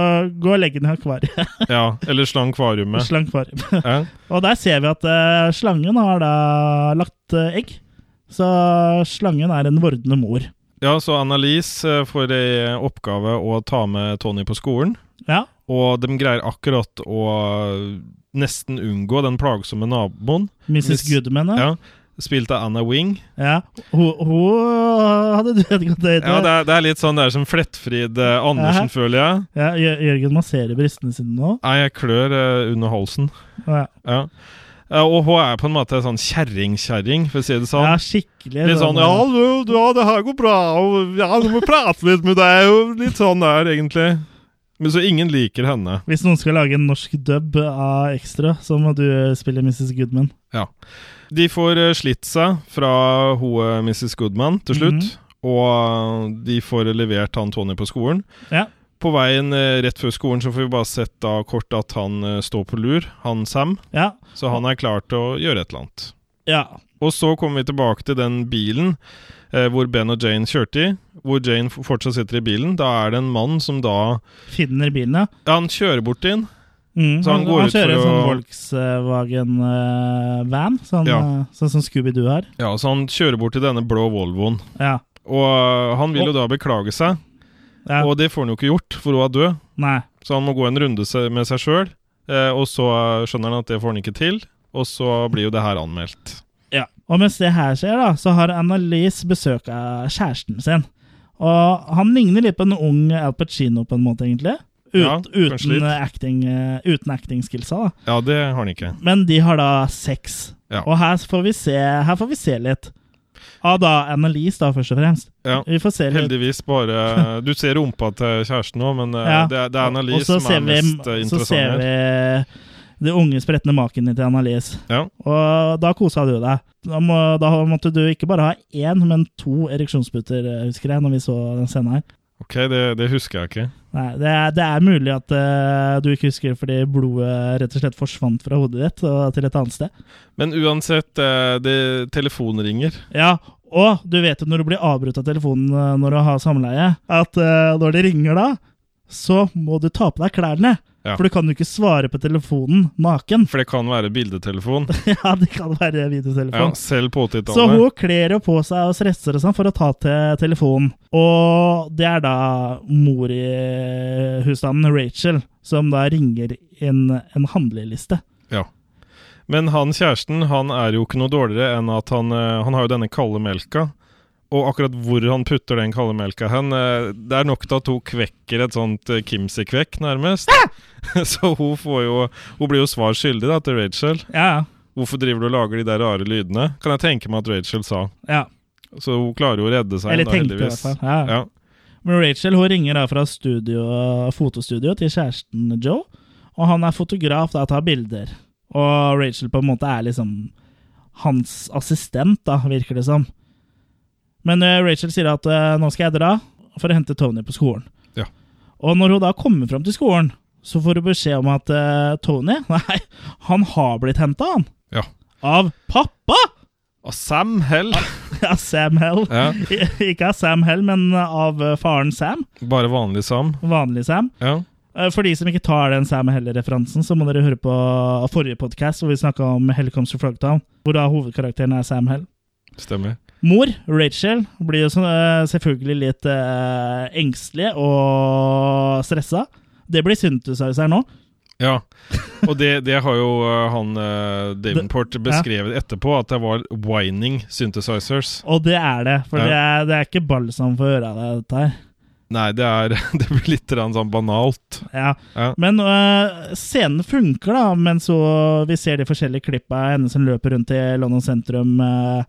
[SPEAKER 1] gå og legg den i [LAUGHS] akvariet.
[SPEAKER 2] Ja, Eller slangkvariumet.
[SPEAKER 1] Slangkvarium.
[SPEAKER 2] Ja.
[SPEAKER 1] og der ser vi at eh, slangen har da lagt eh, egg. Så slangen er en vordende mor.
[SPEAKER 2] ja, så Annalise eh, får i oppgave å ta med Tony på skolen.
[SPEAKER 1] Ja,
[SPEAKER 2] Og de greier akkurat å nesten unngå den plagsomme naboen.
[SPEAKER 1] Mrs.
[SPEAKER 2] Miss-
[SPEAKER 1] Goodman. Ja.
[SPEAKER 2] Ja. Spilt av Anna Wing.
[SPEAKER 1] Ja. Hun, hun hadde du et godt øye
[SPEAKER 2] Ja,
[SPEAKER 1] til.
[SPEAKER 2] det er, det er litt sånn det er som Flettfrid eh, Andersen,
[SPEAKER 1] Hæ?
[SPEAKER 2] føler jeg.
[SPEAKER 1] Ja, Jø- Jørgen masserer brystene sine nå.
[SPEAKER 2] Nei, jeg klør eh, under halsen.
[SPEAKER 1] Ja,
[SPEAKER 2] Ja. Ja, og hun er på en måte sånn kjerring-kjerring, for å si det sånn.
[SPEAKER 1] ja skikkelig. eh,
[SPEAKER 2] Litt sånn ja, du, du, ja, det her går bra, og ja, du må prate litt med deg, og litt sånn der, egentlig. Men så ingen liker henne.
[SPEAKER 1] Hvis noen skal lage en norsk dub av Ekstra, så må du eh, spille Mrs. Goodman.
[SPEAKER 2] Ja. De får eh, slitt seg fra hun, eh, Mrs. Goodman til slutt, og eh, de får levert han Tony på skolen.
[SPEAKER 1] Ja.
[SPEAKER 2] På veien eh, rett før skolen så får vi bare sett da kort at han eh, står på lur, han Sam,
[SPEAKER 1] Ja.
[SPEAKER 2] så han er klar til å gjøre et eller annet.
[SPEAKER 1] ja.
[SPEAKER 2] Og så kommer vi tilbake til den bilen eh, hvor Ben og Jane kjørte i. Hvor Jane f- fortsatt sitter i bilen. Da er det en mann som da
[SPEAKER 1] Finner bilen, ja.
[SPEAKER 2] Ja, han kjører bort til den.
[SPEAKER 1] Mm.
[SPEAKER 2] Så han går ut for
[SPEAKER 1] kjører en sånn
[SPEAKER 2] å-
[SPEAKER 1] Volkswagen-van, sånn,
[SPEAKER 2] Ja.
[SPEAKER 1] eh, sånn som Scooby-Doo har.
[SPEAKER 2] Ja, så han kjører bort til denne blå Volvoen.
[SPEAKER 1] Ja.
[SPEAKER 2] Og eh, han vil jo da beklage seg,
[SPEAKER 1] ja.
[SPEAKER 2] og det får han jo ikke gjort, for hun er død.
[SPEAKER 1] Nei.
[SPEAKER 2] Så han må gå en runde se- med seg sjøl, eh, og så eh, skjønner han at det får han ikke til. Og så blir jo det her anmeldt.
[SPEAKER 1] Ja. Og mens det her skjer, da, så har Annalise besøk av kjæresten sin. Og han ligner litt på en ung Al Pacino, på en måte, egentlig. Ut,
[SPEAKER 2] Ja, kanskje
[SPEAKER 1] uten
[SPEAKER 2] litt.
[SPEAKER 1] eh, acting, eh, uten acting-skillsa, da.
[SPEAKER 2] Ja, det har han ikke.
[SPEAKER 1] Men de har da sex.
[SPEAKER 2] Ja.
[SPEAKER 1] Og her får vi se, her får vi se litt. Av da Annelise, da, først og fremst.
[SPEAKER 2] Ja.
[SPEAKER 1] Vi får se litt.
[SPEAKER 2] Heldigvis
[SPEAKER 1] [LAUGHS]
[SPEAKER 2] bare Du ser rumpa til kjæresten òg, men eh,
[SPEAKER 1] Ja.
[SPEAKER 2] det, er- det er
[SPEAKER 1] Og
[SPEAKER 2] Annalise
[SPEAKER 1] så
[SPEAKER 2] som
[SPEAKER 1] ser
[SPEAKER 2] er
[SPEAKER 1] vi-
[SPEAKER 2] mest eh,
[SPEAKER 1] Så
[SPEAKER 2] interessant
[SPEAKER 1] ser
[SPEAKER 2] her.
[SPEAKER 1] vi det unge, spretne maken til Annelise.
[SPEAKER 2] Ja.
[SPEAKER 1] Og da kosa du deg. Da, må, da måtte du ikke bare ha én, men to ereksjonsputer, eh, husker jeg, når vi så den scenen her.
[SPEAKER 2] Ok, det, det husker jeg ikke.
[SPEAKER 1] Nei, det er, det er mulig at eh, du ikke husker fordi blodet rett og slett forsvant fra hodet ditt og til et annet sted.
[SPEAKER 2] Men uansett, eh, det telefonringer.
[SPEAKER 1] Ja, og du vet jo når du blir avbrutt av telefonen eh, når du har samleie, at eh, når det ringer da, så må du ta på deg klærne.
[SPEAKER 2] Ja.
[SPEAKER 1] For du kan jo ikke svare på telefonen naken. [LAUGHS]
[SPEAKER 2] For det kan være bildetelefon.
[SPEAKER 1] ja, det kan være
[SPEAKER 2] Ja,
[SPEAKER 1] videotelefon.
[SPEAKER 2] selv på
[SPEAKER 1] Så hun
[SPEAKER 2] 80-tallet.
[SPEAKER 1] kler jo på seg og stresser og sånn for å ta til telefonen. Og det er da mor i husstanden, Rachel, som da ringer inn en handleliste.
[SPEAKER 2] Ja. Men han kjæresten han er jo ikke noe dårligere enn at han, eh, han har jo denne kalde melka. Og akkurat hvor han putter den kalde melka hen, eh, det er nok til at hun kvekker et sånt eh, Kimsey-kvekk, nærmest. [LAUGHS] Så hun, får jo, hun blir jo svar skyldig da, til Rachel.
[SPEAKER 1] Ja,
[SPEAKER 2] Hvorfor driver du og lager de der rare lydene? Kan jeg tenke meg at Rachel sa.
[SPEAKER 1] ja.
[SPEAKER 2] Så hun klarer jo å redde seg.
[SPEAKER 1] Eller
[SPEAKER 2] da,
[SPEAKER 1] tenkte i hvert
[SPEAKER 2] heldigvis.
[SPEAKER 1] fall. Ja.
[SPEAKER 2] Ja.
[SPEAKER 1] Men Rachel hun ringer da fra studio, fotostudio til kjæresten Joe, og han er fotograf da, tar bilder. Og Rachel på en måte er liksom hans assistent, da, virker det som. Men eh, Rachel sier at eh, nå skal jeg dra for å hente Tony på skolen.
[SPEAKER 2] Ja.
[SPEAKER 1] Og når hun da kommer fram til skolen, så får hun beskjed om at eh, Tony [LAUGHS] Nei, han har blitt henta, han.
[SPEAKER 2] Ja.
[SPEAKER 1] Av pappa! [LAUGHS]
[SPEAKER 2] Og Sam Hell!
[SPEAKER 1] Av Sam Hell.
[SPEAKER 2] Ja.
[SPEAKER 1] [LAUGHS] Ikke av Sam Hell, men av eh, faren Sam.
[SPEAKER 2] Bare vanlig Sam.
[SPEAKER 1] Vanlig Sam.
[SPEAKER 2] Ja.
[SPEAKER 1] Eh, For de som ikke tar den Sam Hell-referansen, så må dere høre på forrige podkast hvor vi snakka om Hell Comes to Frogtown, hvor da hovedkarakteren er Sam Hell.
[SPEAKER 2] Stemmer.
[SPEAKER 1] Mor, Rachel, blir jo så- eh, selvfølgelig litt eh, engstelig og stressa. Det blir Synthesizer her nå.
[SPEAKER 2] Ja, og det, det har jo eh, han uh, Davenport beskrevet etterpå, at det var whining synthesizers.
[SPEAKER 1] Og det er det, for
[SPEAKER 2] Ja.
[SPEAKER 1] det, er, det er ikke balsam for ørene, dette her.
[SPEAKER 2] Nei, det, er, [LAUGHS] det blir litt grann sånn banalt.
[SPEAKER 1] Ja.
[SPEAKER 2] Ja.
[SPEAKER 1] Men øh, scenen funker, da, mens hun- vi ser de forskjellige klippa henne som løper rundt i London sentrum øh,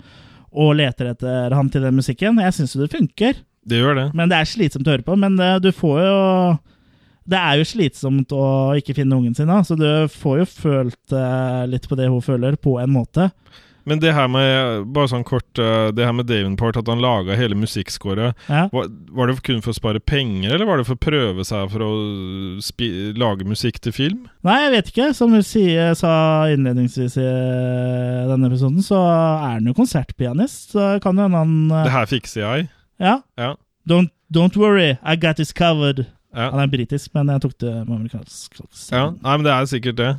[SPEAKER 1] og leter etter han til den musikken. Jeg syns jo det funker,
[SPEAKER 2] Det gjør det.
[SPEAKER 1] men det er slitsomt å høre på. Men øh, du får jo Det er jo slitsomt å ikke finne ungen sin, da, så du får jo følt øh, litt på det hun føler, på en måte.
[SPEAKER 2] Men det her med bare sånn kort eh, Det her med Davenport, at han laga hele musikkscoret
[SPEAKER 1] Ja.
[SPEAKER 2] var, var det kun for å spare penger, eller var det for å prøve seg for å spi lage musikk til film?
[SPEAKER 1] Nei, jeg vet ikke. Som hun sier, sa innledningsvis i øh, denne episoden, så er han jo konsertpianist. Så kan jo hende han øh,
[SPEAKER 2] Det her fikser jeg.
[SPEAKER 1] Ja.
[SPEAKER 2] Ja.
[SPEAKER 1] Don't, don't worry, I got this covered.
[SPEAKER 2] Ja.
[SPEAKER 1] Han er britisk, men jeg tok det med amerikansk.
[SPEAKER 2] ja. Nei, men det er sikkert det.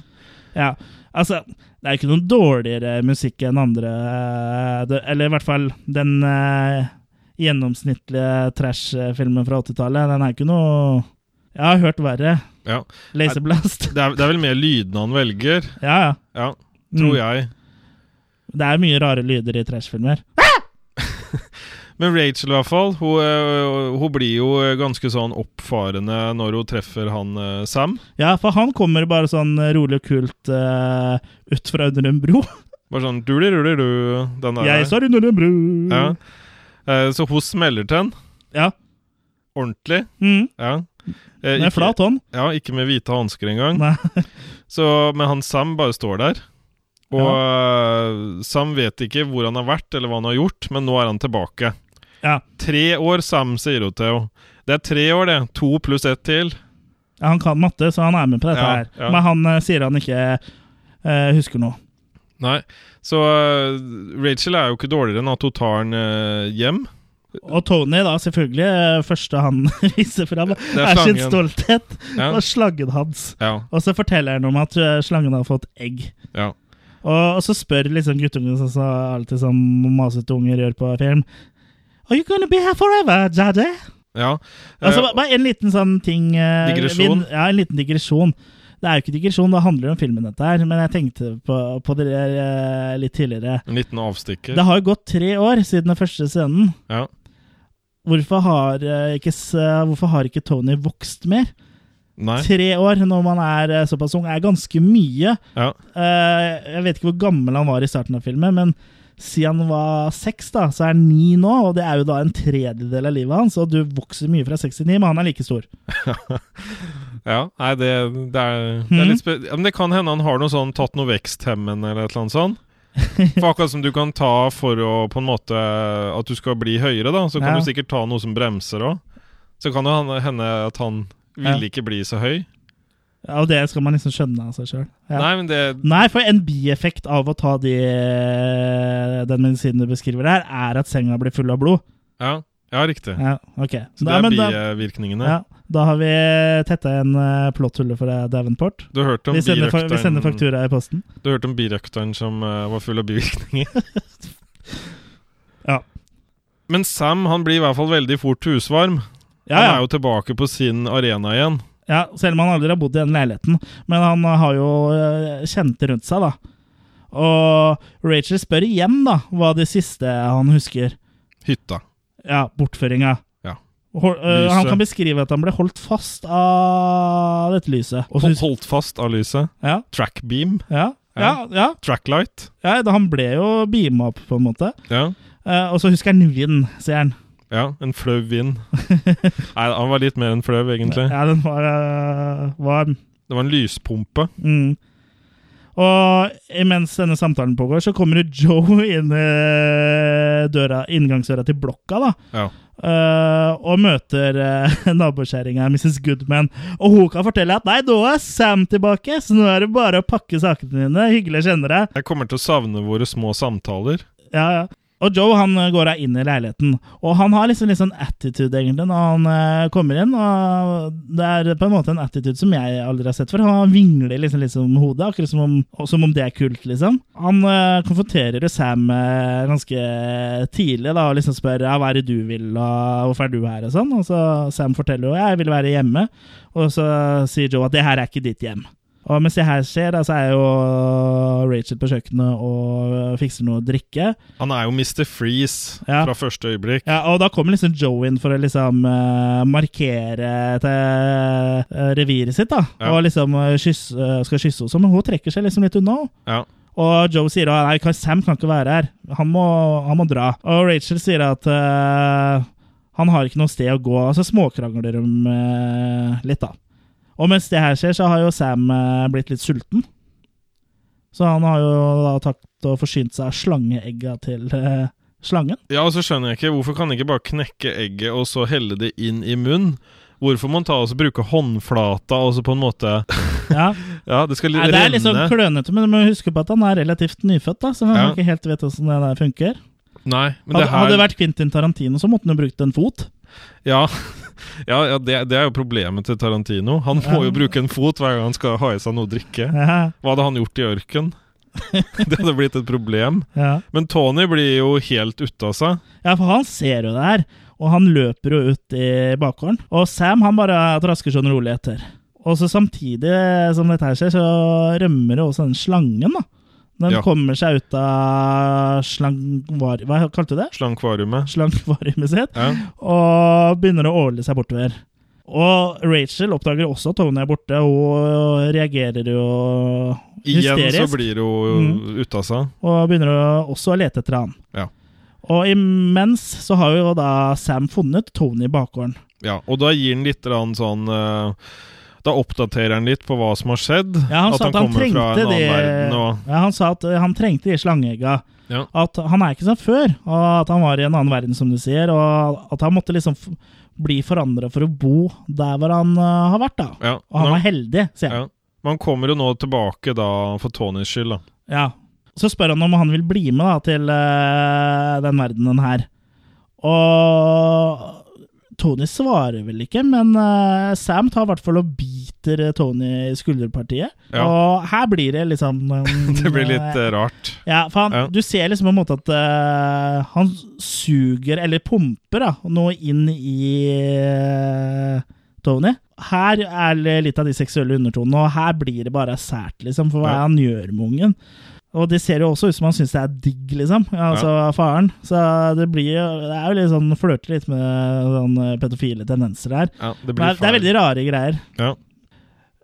[SPEAKER 1] Ja, Altså, det er ikke noen dårligere musikk enn andre eh, det, Eller i hvert fall den eh, gjennomsnittlige trash-filmen fra 80-tallet. Den er ikke noe Jeg har hørt verre.
[SPEAKER 2] Ja.
[SPEAKER 1] Laserblast.
[SPEAKER 2] Det er, det er vel mer lydene han velger,
[SPEAKER 1] [LAUGHS] Ja, ja.
[SPEAKER 2] ja, tror
[SPEAKER 1] Mm.
[SPEAKER 2] jeg.
[SPEAKER 1] Det er mye rare lyder i trash-filmer.
[SPEAKER 2] Men Rachel, i hvert fall, hun, eh, hun blir jo ganske sånn oppfarende når hun treffer han eh, Sam.
[SPEAKER 1] Ja, for han kommer bare sånn rolig og kult eh, ut fra under en
[SPEAKER 2] [LAUGHS]
[SPEAKER 1] bro.
[SPEAKER 2] Bare sånn du, du, du, du, den der.
[SPEAKER 1] Jeg står under en bro.
[SPEAKER 2] ja. Eh, Så hun smeller til han
[SPEAKER 1] ja.
[SPEAKER 2] ordentlig.
[SPEAKER 1] Mm.
[SPEAKER 2] Ja. Eh,
[SPEAKER 1] Med flat hånd.
[SPEAKER 2] ja, ikke med hvite hansker engang.
[SPEAKER 1] Nei.
[SPEAKER 2] [LAUGHS] Så, men han Sam bare står der. Og eh, Sam vet ikke hvor han har vært eller hva han har gjort, men nå er han tilbake.
[SPEAKER 1] Ja.
[SPEAKER 2] Tre år, Sam, sier hun til henne. Det er tre år, det. To pluss ett til.
[SPEAKER 1] Ja, Han kan matte, så han er med på dette
[SPEAKER 2] Ja,
[SPEAKER 1] her.
[SPEAKER 2] ja.
[SPEAKER 1] Men han eh, sier han ikke eh, husker noe.
[SPEAKER 2] Nei. Så eh, Rachel er jo ikke dårligere enn at hun tar han eh, hjem.
[SPEAKER 1] Og Tony, da, selvfølgelig, eh, første han [LAUGHS] viser fram,
[SPEAKER 2] er
[SPEAKER 1] er, sin
[SPEAKER 2] slangen.
[SPEAKER 1] stolthet.
[SPEAKER 2] Ja.
[SPEAKER 1] Og slangen hans.
[SPEAKER 2] Ja.
[SPEAKER 1] Og så forteller han om at eh, slangen har fått egg.
[SPEAKER 2] ja.
[SPEAKER 1] Og, og så spør liksom guttungen, sånn som alltid som masete unger gjør på film Are you gonna be here forever, daddy?
[SPEAKER 2] ja.
[SPEAKER 1] Altså,
[SPEAKER 2] Eh,
[SPEAKER 1] bare- bare en liten sånn ting eh,
[SPEAKER 2] Digresjon?
[SPEAKER 1] vi- ja, en liten digresjon. Det er jo ikke digresjon, det handler jo om filmen, dette her. Men jeg tenkte på, på det der eh, litt tidligere.
[SPEAKER 2] en liten avstikker.
[SPEAKER 1] Det har jo gått tre år siden den første scenen.
[SPEAKER 2] Ja.
[SPEAKER 1] Hvorfor har, eh, ikke, s- eh, hvorfor har ikke Tony vokst mer?
[SPEAKER 2] Nei.
[SPEAKER 1] Tre år når man er eh, såpass ung, er ganske mye.
[SPEAKER 2] Ja.
[SPEAKER 1] Eh, Jeg vet ikke hvor gammel han var i starten av filmen, men siden han var seks, da, så er han ni nå, og det er jo da en tredjedel av livet hans. Og du vokser mye fra seks til ni, men han er like stor.
[SPEAKER 2] ja. Nei, det, det er, det
[SPEAKER 1] Mhm.
[SPEAKER 2] er litt spe ja, Men det kan hende han har noe sånn tatt noe veksthemmende eller et eller annet
[SPEAKER 1] [LAUGHS]
[SPEAKER 2] sånt. For akkurat som du kan ta for å på en måte At du skal bli høyere, da, så kan
[SPEAKER 1] Ja.
[SPEAKER 2] du sikkert ta noe som bremser òg. Så kan det han- hende at han ville ikke bli så høy.
[SPEAKER 1] Ja, og det skal man liksom skjønne av seg sjøl. Ja.
[SPEAKER 2] Nei, men det
[SPEAKER 1] Nei, for en bieffekt av å ta de, eh, den medisinen du beskriver der, er at senga blir full av blod.
[SPEAKER 2] Ja, ja riktig.
[SPEAKER 1] Ja, ok.
[SPEAKER 2] Så
[SPEAKER 1] Nei, men
[SPEAKER 2] det
[SPEAKER 1] da-
[SPEAKER 2] er bivirkningene.
[SPEAKER 1] Ja, da har vi tetta igjen eh, plotthullet for deg, Davenport.
[SPEAKER 2] Du hørte om
[SPEAKER 1] Vi sender, fa- vi sender
[SPEAKER 2] birøkteren
[SPEAKER 1] faktura i posten.
[SPEAKER 2] Du hørte om birøkteren som eh, var full av bivirkninger.
[SPEAKER 1] [LAUGHS] Ja.
[SPEAKER 2] Men Sam han blir i hvert fall veldig fort husvarm.
[SPEAKER 1] Ja,
[SPEAKER 2] Han er
[SPEAKER 1] ja.
[SPEAKER 2] jo tilbake på sin arena igjen.
[SPEAKER 1] ja, selv om han aldri har bodd i den leiligheten. Men han har jo eh, kjente rundt seg, da. Og Rachel spør igjen da hva det siste han husker.
[SPEAKER 2] Hytta.
[SPEAKER 1] Ja, bortføringa.
[SPEAKER 2] Ja.
[SPEAKER 1] Hol- eh,
[SPEAKER 2] Lyset.
[SPEAKER 1] han kan beskrive at han ble holdt fast av dette lyset. Og så
[SPEAKER 2] Hol-
[SPEAKER 1] hus-
[SPEAKER 2] Holdt fast av lyset.
[SPEAKER 1] ja,
[SPEAKER 2] Trackbeam.
[SPEAKER 1] ja, ja,
[SPEAKER 2] Ja.
[SPEAKER 1] ja,
[SPEAKER 2] Tracklight.
[SPEAKER 1] ja, da Han ble jo beama opp, på en måte.
[SPEAKER 2] Ja.
[SPEAKER 1] Eh, og så husker han vinden, sier han.
[SPEAKER 2] ja. En
[SPEAKER 1] [LAUGHS]
[SPEAKER 2] flau vind. Nei, han var litt mer enn flau, egentlig.
[SPEAKER 1] Ja, den var eh, varm.
[SPEAKER 2] Det var en lyspumpe.
[SPEAKER 1] Mm. Og imens denne samtalen pågår, så kommer jo Joe [LAUGHS] inn eh, døra, inngangsdøra til blokka, da.
[SPEAKER 2] Ja.
[SPEAKER 1] eh, og møter uh, [LAUGHS] nabokjerringa, Mrs. Goodman. Og hun kan fortelle at 'nei, nå er Sam tilbake, så nå er det bare å pakke sakene dine'. Hyggelig å kjenne deg.
[SPEAKER 2] Jeg kommer til å savne våre små samtaler.
[SPEAKER 1] Ja, ja. Og Joe han eh, går da inn i leiligheten, og han har liksom litt sånn attitude egentlig når han eh, kommer inn. og Det er på en måte en attitude som jeg aldri har sett før. Han vingler liksom litt som hodet, akkurat som om, og som om det er kult, liksom. Han eh, konfronterer jo Sam eh, ganske tidlig da, og liksom spør ja, hva er det du vil, og hvorfor er du her, og sånn. Og så Sam forteller jo jeg vil være hjemme, og så sier Joe at det her er ikke ditt hjem. Og mens det her skjer, da, så er jo Rachel på kjøkkenet og fikser noe å drikke.
[SPEAKER 2] Han er jo Mr. Freeze
[SPEAKER 1] Ja.
[SPEAKER 2] fra første øyeblikk.
[SPEAKER 1] Ja, og da kommer liksom Joe inn for å liksom eh, markere til, eh, reviret sitt, da.
[SPEAKER 2] Ja.
[SPEAKER 1] Og liksom eh, kyss, eh, skal kysse henne, men hun trekker seg liksom litt unna.
[SPEAKER 2] Ja.
[SPEAKER 1] Og Joe sier at nei, kan- Sam kan ikke være her, han må, han må dra. Og Rachel sier at eh, han har ikke noe sted å gå, og så småkrangler de eh, litt, da. Og mens det her skjer, så har jo Sam eh, blitt litt sulten. Så han har jo da tatt og forsynt seg av slangeegga til eh, slangen.
[SPEAKER 2] Ja, og så skjønner jeg ikke Hvorfor kan jeg ikke bare knekke egget og så helle det inn i munnen? Hvorfor må man ta og så bruke håndflata og så på en måte
[SPEAKER 1] Ja.
[SPEAKER 2] Ja, det skal
[SPEAKER 1] Nei,
[SPEAKER 2] litt
[SPEAKER 1] det er
[SPEAKER 2] renne.
[SPEAKER 1] liksom klønete, men du må huske på at han er relativt nyfødt. da Så han
[SPEAKER 2] Ja.
[SPEAKER 1] ikke helt vet hvordan det der funker.
[SPEAKER 2] Nei, men
[SPEAKER 1] Hadde
[SPEAKER 2] det her
[SPEAKER 1] hadde det vært Quentin Tarantino, så måtte han jo brukt en fot. [LAUGHS]
[SPEAKER 2] Ja, [LAUGHS] ja, ja det, det er jo problemet til Tarantino. Han må jo bruke en fot hver gang han skal ha i seg noe å drikke.
[SPEAKER 1] Ja,
[SPEAKER 2] Hva hadde han gjort i
[SPEAKER 1] [LAUGHS]
[SPEAKER 2] ørken? Det hadde blitt et problem.
[SPEAKER 1] ja.
[SPEAKER 2] Men Tony blir jo helt ute av seg.
[SPEAKER 1] ja, for han ser jo det her, og han løper jo ut i bakgården. Og Sam han bare trasker sånn rolig etter. Og så samtidig som dette her skjer, så rømmer jo også den slangen, da. Den
[SPEAKER 2] Ja.
[SPEAKER 1] kommer seg ut av slangvar... Hva kalte du det?
[SPEAKER 2] Slangkvariumet.
[SPEAKER 1] [LAUGHS] Slangvariumet sitt.
[SPEAKER 2] Ja.
[SPEAKER 1] og begynner å åle seg bortover. Og Rachel oppdager også at Tony er borte, og reagerer jo
[SPEAKER 2] Igjen så
[SPEAKER 1] hysterisk. Mm.
[SPEAKER 2] blir hun ute av seg.
[SPEAKER 1] Og begynner å- også å lete etter han.
[SPEAKER 2] Ja.
[SPEAKER 1] Og imens så har jo da Sam funnet Tony i bakgården.
[SPEAKER 2] Ja, og da gir han litt grann sånn eh, Da oppdaterer han litt på hva som har skjedd.
[SPEAKER 1] Ja, han
[SPEAKER 2] at
[SPEAKER 1] sa
[SPEAKER 2] han
[SPEAKER 1] at han
[SPEAKER 2] kommer fra
[SPEAKER 1] trengte
[SPEAKER 2] en annen
[SPEAKER 1] de
[SPEAKER 2] verden og
[SPEAKER 1] ja, Han sa at eh, han trengte de slangeegga.
[SPEAKER 2] Ja.
[SPEAKER 1] At han er ikke som før, og at han var i en annen verden, som du sier. Og at han måtte liksom f bli forandra for å bo der hvor han eh, har vært, da.
[SPEAKER 2] ja,
[SPEAKER 1] Og han
[SPEAKER 2] nå-
[SPEAKER 1] var heldig, sier jeg.
[SPEAKER 2] ja. Man kommer jo nå tilbake da for Tonys skyld, da. [LAUGHS]
[SPEAKER 1] Ja. Så spør han om han vil bli med da, til eh, den verdenen her. Og Tony svarer vel ikke, men eh, Sam tar i hvert fall og biter eh, Tony i skulderpartiet.
[SPEAKER 2] Ja.
[SPEAKER 1] Og her blir det liksom
[SPEAKER 2] [LAUGHS] Det blir litt eh, rart.
[SPEAKER 1] Ja, for han,
[SPEAKER 2] ja.
[SPEAKER 1] du ser liksom på en måte at eh, han suger, eller pumper, da, noe inn i eh, Tony. Her er det litt av de seksuelle undertonene, og her blir det bare sært, liksom, for hva er
[SPEAKER 2] Ja.
[SPEAKER 1] det han gjør med ungen? Og det ser jo også ut som han syns det er digg, liksom. Altså faren. Så det blir jo Det er jo litt sånn flørter litt med sånn eh, pedofile tendenser her.
[SPEAKER 2] Ja, det
[SPEAKER 1] Det
[SPEAKER 2] blir
[SPEAKER 1] er, det er
[SPEAKER 2] feil.
[SPEAKER 1] veldig rare greier.
[SPEAKER 2] Ja.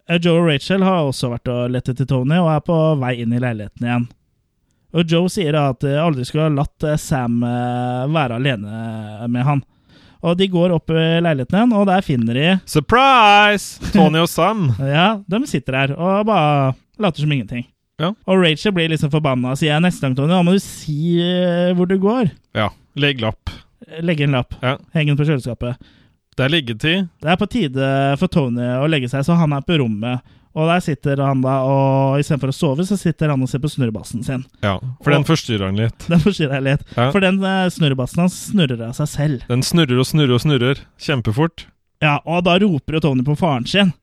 [SPEAKER 1] Eh, Joe og Rachel har også vært og lett etter Tony, og er på vei inn i leiligheten igjen. Og Joe sier da at jeg aldri skulle ha latt eh, Sam eh, være alene eh, med han. Og de går opp i leiligheten igjen, og der finner de
[SPEAKER 2] Surprise! Tony og Sam.
[SPEAKER 1] Ja, de sitter her og bare later som ingenting.
[SPEAKER 2] Ja.
[SPEAKER 1] Og Rachel blir liksom forbanna og sier neste gang, Tony, da må du si eh, hvor du går.
[SPEAKER 2] Ja, legg lapp.
[SPEAKER 1] Legge en lapp.
[SPEAKER 2] Ja.
[SPEAKER 1] Heng den på kjøleskapet.
[SPEAKER 2] Det er liggetid.
[SPEAKER 1] Det er på tide eh, for Tony å legge seg, så han er på rommet. Og der sitter han da, og istedenfor å sove, så sitter han og ser på snurrebassen sin.
[SPEAKER 2] Ja, for den forstyrrer han litt.
[SPEAKER 1] Den forstyrrer jeg litt.
[SPEAKER 2] Ja.
[SPEAKER 1] For den eh, snurrebassen hans snurrer av seg selv.
[SPEAKER 2] Den snurrer og snurrer og snurrer. Kjempefort.
[SPEAKER 1] Ja, og da roper jo Tony på faren sin.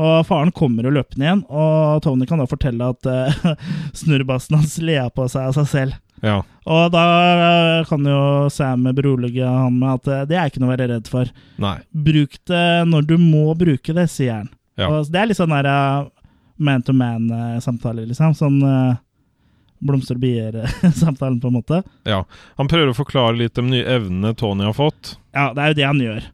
[SPEAKER 1] Og faren kommer jo løpende igjen, og Tony kan da fortelle at eh, [LAUGHS] snurrebassen hans lea på seg av seg selv.
[SPEAKER 2] Ja.
[SPEAKER 1] Og da eh, kan jo Sam berolige han med at eh, det er ikke noe å være redd for.
[SPEAKER 2] Nei.
[SPEAKER 1] Bruk det når du må bruke det, sier han.
[SPEAKER 2] Ja.
[SPEAKER 1] Og det er litt sånn der man-to-man-samtale, liksom. Sånn eh, blomster og bier-samtalen, på en måte.
[SPEAKER 2] Ja. Han prøver å forklare litt de nye evnene Tony har fått.
[SPEAKER 1] Ja, det er jo det han gjør.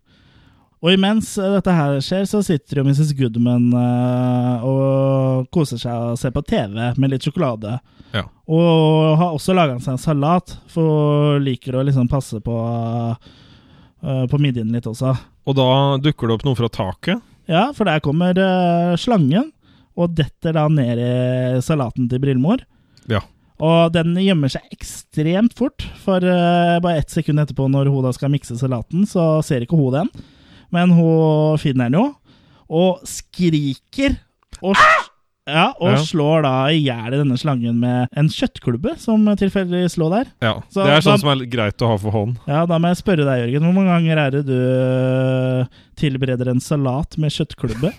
[SPEAKER 1] Og imens eh, dette her skjer, så sitter jo Mrs. Goodman eh, og koser seg og ser på TV med litt sjokolade.
[SPEAKER 2] Ja.
[SPEAKER 1] Og har også laga seg en salat, for liker å liksom passe på, eh, på midjen litt også.
[SPEAKER 2] Og da dukker det opp noe fra taket.
[SPEAKER 1] Ja, for der kommer eh, slangen og detter da ned i salaten til Brillmor.
[SPEAKER 2] Ja.
[SPEAKER 1] Og den gjemmer seg ekstremt fort, for eh, bare ett sekund etterpå, når hun da skal mikse salaten, så ser ikke hun den. Men hun finner den jo, og skriker og Ja, og
[SPEAKER 2] Ja.
[SPEAKER 1] slår da i hjel denne slangen med en kjøttklubbe, som tilfeldigvis lå der.
[SPEAKER 2] Ja,
[SPEAKER 1] Så
[SPEAKER 2] Det er
[SPEAKER 1] da-
[SPEAKER 2] sånn som er litt greit å ha for hånd.
[SPEAKER 1] Ja, da må jeg spørre deg, Jørgen. Hvor mange ganger er det du tilbereder en salat med
[SPEAKER 2] [LAUGHS]
[SPEAKER 1] kjøttklubbe?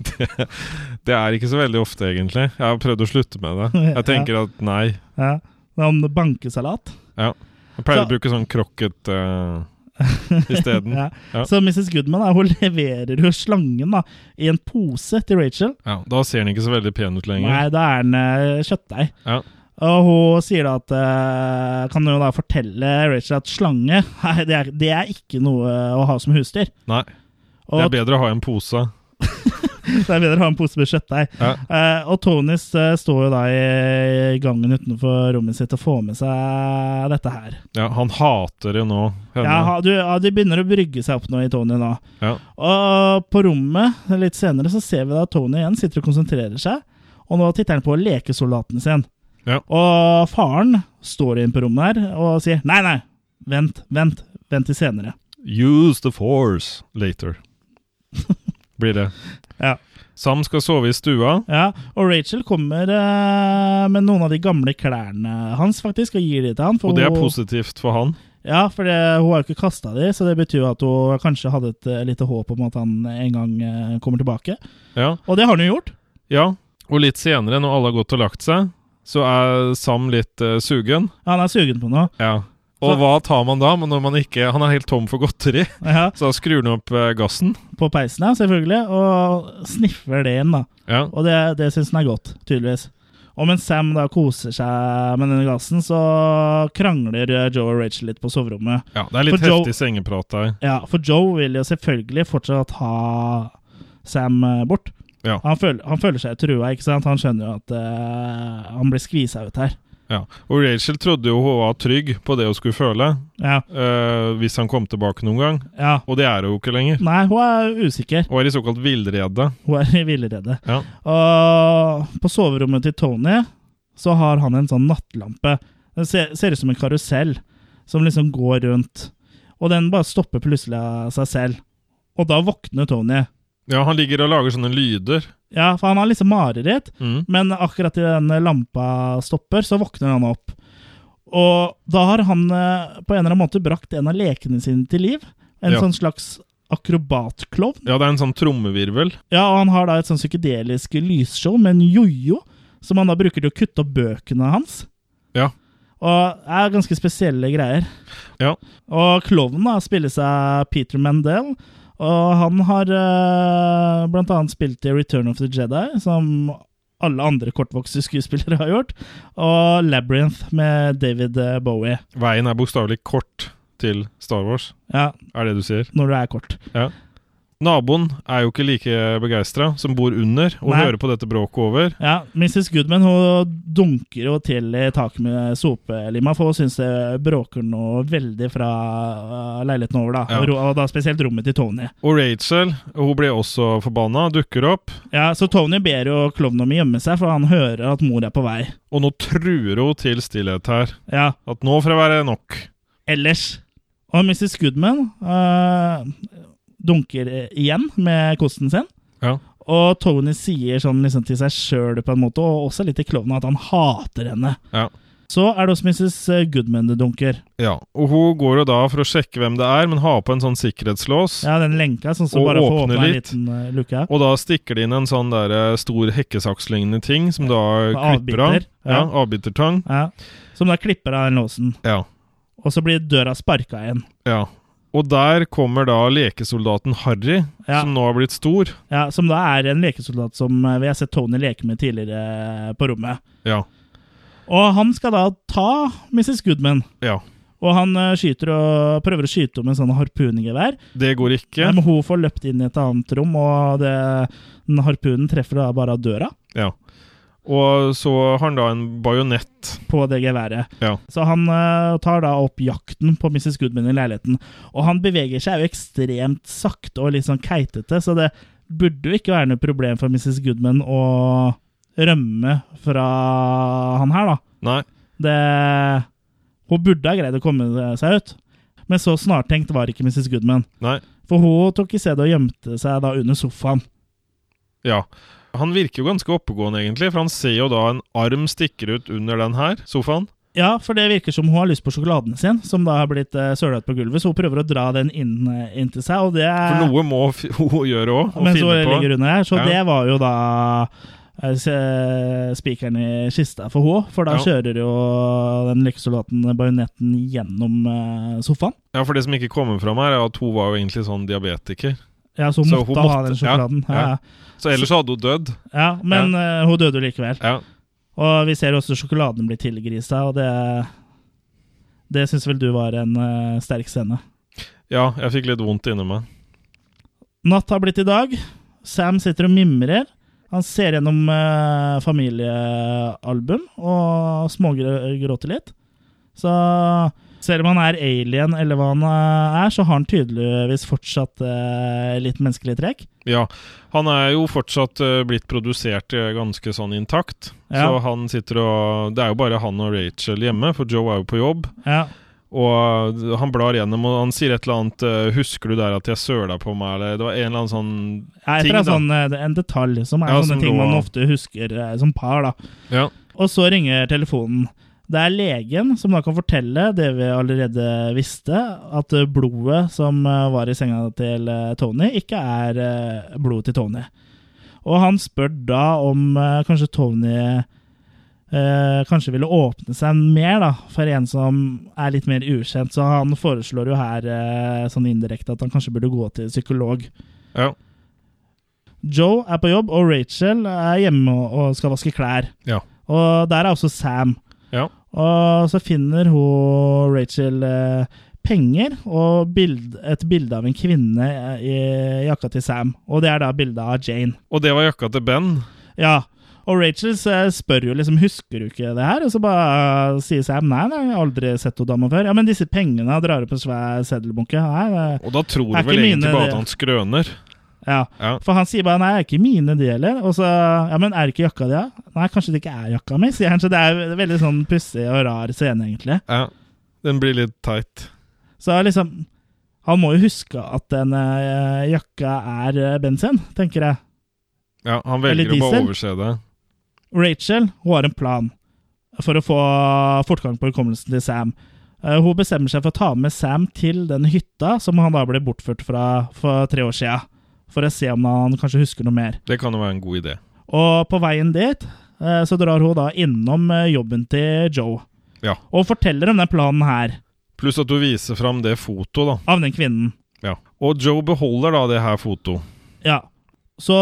[SPEAKER 2] Det er ikke så veldig ofte, egentlig. Jeg har prøvd å slutte med det.
[SPEAKER 1] [LAUGHS] Ja.
[SPEAKER 2] Jeg tenker at nei.
[SPEAKER 1] Ja, det er om bankesalat.
[SPEAKER 2] Ja. Jeg pleier
[SPEAKER 1] Så-
[SPEAKER 2] å bruke sånn krokket uh,
[SPEAKER 1] [LAUGHS]
[SPEAKER 2] isteden.
[SPEAKER 1] Ja.
[SPEAKER 2] Mm, Ja.
[SPEAKER 1] Så Mrs. Goodman da, hun [LAUGHS] leverer jo slangen da, i en pose til Rachel.
[SPEAKER 2] Ja, da ser den ikke så veldig pen ut lenger.
[SPEAKER 1] Nei, da er den eh, kjøttdeig.
[SPEAKER 2] Ja.
[SPEAKER 1] Og hun sier da at eh, Kan jo da fortelle Rachel at slange [LAUGHS] Nei, det er, det er ikke noe eh, å ha som husdyr. [LAUGHS]
[SPEAKER 2] Nei,
[SPEAKER 1] Og
[SPEAKER 2] det er bedre å ha en pose.
[SPEAKER 1] Det er bedre å ha en pose med kjøttdeig.
[SPEAKER 2] Ja.
[SPEAKER 1] Eh, og Tonys eh, står jo da i, i gangen utenfor rommet sitt og får med seg dette her.
[SPEAKER 2] Ja, han hater det nå. Henne.
[SPEAKER 1] Ja, ha- du, ja, De begynner å brygge seg opp nå i Tony nå.
[SPEAKER 2] Ja.
[SPEAKER 1] Og på rommet litt senere så ser vi da Tony igjen sitter og konsentrerer seg. Og nå titter han på lekesoldaten sin.
[SPEAKER 2] Ja.
[SPEAKER 1] Og faren står inn på rommet her og sier nei, nei, vent, vent, vent til senere.
[SPEAKER 2] Use the force
[SPEAKER 1] [LAUGHS]
[SPEAKER 2] later. Blir det.
[SPEAKER 1] Ja.
[SPEAKER 2] Sam skal sove i stua.
[SPEAKER 1] Ja, og Rachel kommer eh, med noen av de gamle klærne hans, faktisk, og gir de til han. for
[SPEAKER 2] Og det er
[SPEAKER 1] hun-
[SPEAKER 2] positivt for han.
[SPEAKER 1] Ja, for det, hun har jo ikke kasta de, så det betyr jo at hun kanskje hadde et eh, lite håp om at han en gang eh, kommer tilbake.
[SPEAKER 2] Ja.
[SPEAKER 1] Og det har han jo gjort.
[SPEAKER 2] ja. Og litt senere, når alle har gått og lagt seg, så er Sam litt eh, sugen.
[SPEAKER 1] Han er sugen på noe.
[SPEAKER 2] Ja. Og
[SPEAKER 1] Så-
[SPEAKER 2] hva tar man da men når man ikke Han er helt tom for godteri, [LAUGHS]
[SPEAKER 1] Ja,
[SPEAKER 2] så da skrur han opp eh, gassen.
[SPEAKER 1] på peisen, ja, selvfølgelig, og sniffer det inn, da.
[SPEAKER 2] Ja.
[SPEAKER 1] Og det, det syns han er godt, tydeligvis. Og mens Sam da koser seg med denne gassen, så krangler eh, Joe og Rachel litt på soverommet.
[SPEAKER 2] ja. Det er litt
[SPEAKER 1] For Joe-
[SPEAKER 2] heftig sengeprat der.
[SPEAKER 1] Ja, for Joe vil jo selvfølgelig fortsatt ha Sam eh, bort.
[SPEAKER 2] Ja.
[SPEAKER 1] Han, føler, han føler seg trua, ikke sant? Han skjønner jo at eh, han blir skvisa ut her.
[SPEAKER 2] Ja. Og Rachel trodde jo hun var trygg på det hun skulle føle
[SPEAKER 1] Ja,
[SPEAKER 2] eh, hvis han kom tilbake noen gang,
[SPEAKER 1] ja.
[SPEAKER 2] og det er hun jo ikke lenger.
[SPEAKER 1] Nei, hun er usikker.
[SPEAKER 2] Hun er i såkalt villrede.
[SPEAKER 1] Hun er i villrede.
[SPEAKER 2] Ja.
[SPEAKER 1] Og på soverommet til Tony så har han en sånn nattlampe. Den ser, ser ut som en karusell som liksom går rundt. Og den bare stopper plutselig av seg selv. Og da våkner Tony.
[SPEAKER 2] Ja, han ligger og lager sånne lyder.
[SPEAKER 1] Ja, for han har liksom mareritt.
[SPEAKER 2] Mm.
[SPEAKER 1] Men akkurat idet den lampa stopper, så våkner han opp. Og da har han eh, på en eller annen måte brakt en av lekene sine til liv. En
[SPEAKER 2] Ja.
[SPEAKER 1] sånn slags akrobatklovn.
[SPEAKER 2] Ja, det er en sånn trommevirvel.
[SPEAKER 1] Ja, og han har da et sånn psykedelisk lysshow med en jojo, som han da bruker til å kutte opp bøkene hans.
[SPEAKER 2] Ja.
[SPEAKER 1] Og det er ganske spesielle greier.
[SPEAKER 2] Ja.
[SPEAKER 1] Og klovnen da spilles av Peter Mandel, og han har eh, blant annet spilt i Return of the Jedi, som alle andre kortvokste skuespillere har gjort, og Labyrinth med David eh, Bowie.
[SPEAKER 2] Veien er bokstavelig kort til Star Wars,
[SPEAKER 1] Ja,
[SPEAKER 2] er det du sier.
[SPEAKER 1] når du er kort.
[SPEAKER 2] Naboen er jo ikke like begeistra, som bor under og
[SPEAKER 1] Nei.
[SPEAKER 2] hører på dette bråket over.
[SPEAKER 1] Ja, Mrs. Goodman hun dunker jo til i taket med sopelima, for hun syns det bråker noe veldig fra øh, leiligheten over, da.
[SPEAKER 2] Ja.
[SPEAKER 1] Og ro- Og da spesielt rommet til Tony.
[SPEAKER 2] Og Rachel, hun ble også forbanna, dukker opp.
[SPEAKER 1] Ja, Så Tony ber jo klovnen om å gjemme seg, for han hører at mor er på vei.
[SPEAKER 2] Og nå truer hun til stillhet her.
[SPEAKER 1] Ja,
[SPEAKER 2] At nå får det være nok.
[SPEAKER 1] ellers. Og Mrs. Goodman øh, dunker igjen med kosten sin.
[SPEAKER 2] Ja.
[SPEAKER 1] Og Tony sier sånn liksom til seg sjøl på en måte, og også litt til klovnen, at han hater henne.
[SPEAKER 2] Ja.
[SPEAKER 1] Så er det hos Mrs. Goodman det dunker.
[SPEAKER 2] ja. Og hun går jo da for å sjekke hvem det er, men har på en sånn sikkerhetslås.
[SPEAKER 1] Ja, den lenka sånn som
[SPEAKER 2] Og
[SPEAKER 1] bare får
[SPEAKER 2] åpne
[SPEAKER 1] åpna en
[SPEAKER 2] litt.
[SPEAKER 1] liten eh, luke.
[SPEAKER 2] Og da stikker det inn en sånn der eh, stor hekkesakslignende ting som da klipper av.
[SPEAKER 1] avbiter,
[SPEAKER 2] Ja,
[SPEAKER 1] ja.
[SPEAKER 2] avbitertang.
[SPEAKER 1] Ja. Som da klipper av den låsen.
[SPEAKER 2] Ja.
[SPEAKER 1] Og så blir døra sparka igjen.
[SPEAKER 2] ja. Og der kommer da lekesoldaten Harry,
[SPEAKER 1] Ja.
[SPEAKER 2] som nå har blitt stor.
[SPEAKER 1] Ja, som da er en lekesoldat som eh, vi har sett Tony leke med tidligere eh, på rommet.
[SPEAKER 2] Ja.
[SPEAKER 1] Og han skal da ta Mrs. Goodman.
[SPEAKER 2] ja.
[SPEAKER 1] Og han eh, skyter og prøver å skyte om en sånn harpungevær.
[SPEAKER 2] Det går ikke.
[SPEAKER 1] Men hun får løpt inn i et annet rom, og det, den harpunen treffer da bare av døra
[SPEAKER 2] Ja. Og så har han da en bajonett.
[SPEAKER 1] på det geværet.
[SPEAKER 2] Ja.
[SPEAKER 1] Så han eh, tar da opp jakten på Mrs. Goodman i leiligheten. Og han beveger seg jo ekstremt sakte og litt sånn keitete, så det burde jo ikke være noe problem for Mrs. Goodman å rømme fra han her, da.
[SPEAKER 2] Nei.
[SPEAKER 1] Det Hun burde ha greid å komme seg ut. Men så snartenkt var ikke Mrs. Goodman.
[SPEAKER 2] Nei.
[SPEAKER 1] For hun tok i stedet og gjemte seg da under sofaen.
[SPEAKER 2] Ja. Han virker jo ganske oppegående, egentlig, for han ser jo da en arm stikker ut under den her sofaen.
[SPEAKER 1] Ja, for det virker som hun har lyst på sjokoladen sin, som da har blitt uh, søla ut på gulvet. Så hun prøver å dra den inn, eh, inn til seg, og det
[SPEAKER 2] For noe må [LAUGHS] f hun gjøre òg, og
[SPEAKER 1] mens hun
[SPEAKER 2] finne på.
[SPEAKER 1] Eh. ligger under her. Så
[SPEAKER 2] Ja.
[SPEAKER 1] det var jo da eh, se- spikeren i kista for henne. For da
[SPEAKER 2] Ja.
[SPEAKER 1] kjører jo den lykkesoldaten bajonetten gjennom eh, sofaen.
[SPEAKER 2] Ja, for det som ikke kommer fram her, er at hun var jo egentlig sånn diabetiker.
[SPEAKER 1] Ja, så hun
[SPEAKER 2] Så
[SPEAKER 1] måtte,
[SPEAKER 2] hun
[SPEAKER 1] ha
[SPEAKER 2] måtte-
[SPEAKER 1] den
[SPEAKER 2] ja,
[SPEAKER 1] sjokoladen. Ja,
[SPEAKER 2] ja.
[SPEAKER 1] ja.
[SPEAKER 2] Så ellers så hadde hun dødd.
[SPEAKER 1] men eh, hun døde jo likevel.
[SPEAKER 2] Ja.
[SPEAKER 1] Og vi ser jo også sjokoladen blir tilgrisa, og det Det syns vel du var en eh, sterk scene.
[SPEAKER 2] ja, jeg fikk litt vondt inni meg.
[SPEAKER 1] Natt har blitt i dag. Sam sitter og mimrer. Han ser gjennom eh, familiealbum og smågråter litt. Så selv om han er alien, eller hva han eh, er, så har han tydeligvis fortsatt eh, litt menneskelige trekk.
[SPEAKER 2] Ja, han er jo fortsatt eh, blitt produsert eh, ganske sånn intakt.
[SPEAKER 1] Ja.
[SPEAKER 2] Så han sitter og Det er jo bare han og Rachel hjemme, for Joe er jo på jobb.
[SPEAKER 1] Ja,
[SPEAKER 2] Og eh, han blar gjennom, og han sier et eller annet eh, 'Husker du der at jeg søla på meg?' Eller det var en eller annen sånn
[SPEAKER 1] ja etter
[SPEAKER 2] Ting,
[SPEAKER 1] en,
[SPEAKER 2] da.
[SPEAKER 1] sånn, eh, en detalj, som er
[SPEAKER 2] Ja,
[SPEAKER 1] sånne
[SPEAKER 2] som
[SPEAKER 1] ting
[SPEAKER 2] lå-
[SPEAKER 1] man ofte husker eh, som par. da.
[SPEAKER 2] Ja.
[SPEAKER 1] Og så ringer telefonen. Det er legen som da kan fortelle det vi allerede visste, at eh, blodet som eh, var i senga til eh, Tony, ikke er eh, blodet til Tony. Og han spør da om eh, kanskje Tony eh, kanskje ville åpne seg mer da, for en som er litt mer ukjent. Så han foreslår jo her eh, sånn indirekte at han kanskje burde gå til psykolog.
[SPEAKER 2] ja.
[SPEAKER 1] Joe er på jobb, og Rachel er hjemme og skal vaske klær.
[SPEAKER 2] Ja.
[SPEAKER 1] Og der er også Sam.
[SPEAKER 2] Ja.
[SPEAKER 1] Og så finner hun Rachel eh, penger og bild, et bilde av en kvinne eh, i jakka til Sam. Og det er da bildet av Jane.
[SPEAKER 2] Og det var jakka til Ben.
[SPEAKER 1] Ja. Og Rachel eh, spør jo liksom husker du ikke det her, og så bare eh, sier Sam nei, nei, jeg har aldri sett henne dama før. Ja, men disse pengene drar opp en svær seddelbunke. Nei, det,
[SPEAKER 2] Og da tror
[SPEAKER 1] Er
[SPEAKER 2] du vel
[SPEAKER 1] ikke
[SPEAKER 2] egentlig
[SPEAKER 1] mine det.
[SPEAKER 2] bare at han skrøner.
[SPEAKER 1] ja.
[SPEAKER 2] Ja.
[SPEAKER 1] For han sier bare 'nei, det er ikke mine de heller'. Og så 'ja, men er det ikke jakka di', da? Nei, kanskje det ikke er jakka mi, sier han. Så det er jo en veldig sånn pussig og rar scene, egentlig.
[SPEAKER 2] ja. Den blir litt teit.
[SPEAKER 1] Så liksom Han må jo huske at den eh, jakka er eh, Ben sin, tenker jeg.
[SPEAKER 2] Ja, han
[SPEAKER 1] Eller
[SPEAKER 2] velger å bare
[SPEAKER 1] diesel.
[SPEAKER 2] overse det.
[SPEAKER 1] Rachel hun har en plan for å få fortgang på hukommelsen til Sam. Eh, Hun bestemmer seg for å ta med Sam til den hytta som han da ble bortført fra for tre år sia, for å se om han kanskje husker noe mer.
[SPEAKER 2] Det kan jo være en god idé.
[SPEAKER 1] Og på veien dit eh, så drar hun da innom eh, jobben til Joe.
[SPEAKER 2] Ja.
[SPEAKER 1] Og forteller om den planen her,
[SPEAKER 2] Pluss at du viser fram det fotoet, da.
[SPEAKER 1] av den kvinnen.
[SPEAKER 2] Ja. Og Joe beholder da det her fotoet.
[SPEAKER 1] Ja. Så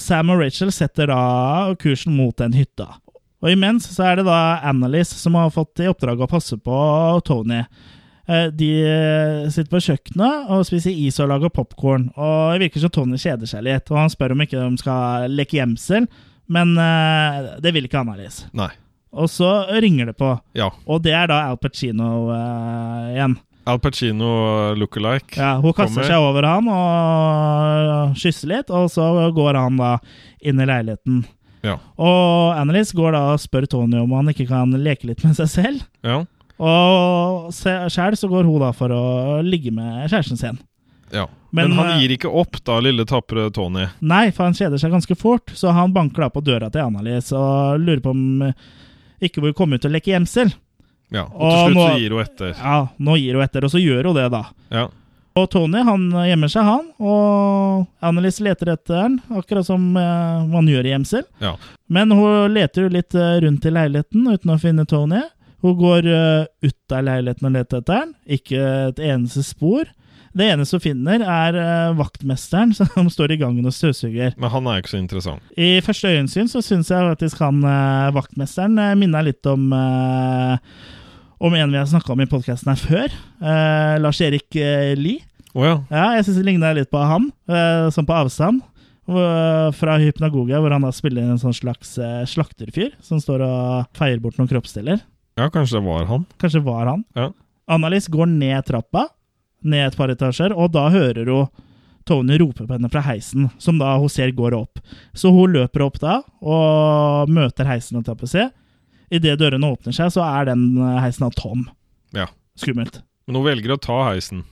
[SPEAKER 1] Sam og Rachel setter da kursen mot den hytta. Og imens så er det da Annalise som har fått i oppdrag å passe på Tony. Eh, De sitter på kjøkkenet og spiser is og lager popkorn. Og det virker som Tony kjeder seg litt, og han spør om ikke de skal leke gjemsel. Men eh, det vil ikke Annalise.
[SPEAKER 2] Nei.
[SPEAKER 1] Og så ringer det på.
[SPEAKER 2] Ja.
[SPEAKER 1] Og det er da Al Pacino eh, igjen.
[SPEAKER 2] Al Pacino eh, look-alike.
[SPEAKER 1] Ja, hun kaster
[SPEAKER 2] Kommer.
[SPEAKER 1] seg over han og kysser litt, og så går han da inn i leiligheten.
[SPEAKER 2] Ja.
[SPEAKER 1] Og Annelise går da og spør Tony om han ikke kan leke litt med seg selv.
[SPEAKER 2] Ja.
[SPEAKER 1] Og sjæl så går hun da for å ligge med kjæresten sin.
[SPEAKER 2] ja.
[SPEAKER 1] Men,
[SPEAKER 2] Men, han
[SPEAKER 1] eh,
[SPEAKER 2] gir ikke opp, da, lille tapre Tony.
[SPEAKER 1] Nei, for han kjeder seg ganske fort, så han banker da på døra til Annelise og lurer på om eh, ikke hun komme ut og leke gjemsel.
[SPEAKER 2] Ja. Og
[SPEAKER 1] Og
[SPEAKER 2] til slutt
[SPEAKER 1] nå-
[SPEAKER 2] så gir hun etter.
[SPEAKER 1] Ja, nå gir hun etter, og så gjør hun det, da.
[SPEAKER 2] Ja.
[SPEAKER 1] Og Tony han gjemmer seg, han. Og Annelise leter etter han, akkurat som eh, man gjør i gjemsel.
[SPEAKER 2] ja.
[SPEAKER 1] Men hun leter jo litt eh, rundt i leiligheten uten å finne Tony. Hun går eh, ut av leiligheten og leter etter han. Ikke et eneste spor. Det eneste hun finner, er eh, vaktmesteren [LAUGHS] som står i gangen og støvsuger.
[SPEAKER 2] Men han er jo ikke så interessant.
[SPEAKER 1] I første øyensyn så syns jeg faktisk han eh, vaktmesteren eh, minna litt om eh, om en vi har snakka om i podkasten her før. Eh, Lars-Erik eh, Lie.
[SPEAKER 2] Å ja.
[SPEAKER 1] Ja, jeg syns det ligna litt på han, eh, sånn på avstand. Hvor- Fra Hypnagogia, hvor han da spiller en sånn slags eh, slakterfyr som står og feier bort noen kroppsdeler.
[SPEAKER 2] Ja, kanskje det var han.
[SPEAKER 1] Kanskje var han.
[SPEAKER 2] Ja.
[SPEAKER 1] Annalise går ned trappa, ned et par etasjer, og da hører hun Tony rope på henne fra heisen, som da hun ser går opp. Så hun løper opp da, og møter heisen og tapper seg. Idet dørene åpner seg, så er den eh, heisen da tom.
[SPEAKER 2] Ja.
[SPEAKER 1] Skummelt.
[SPEAKER 2] Men hun velger å ta heisen.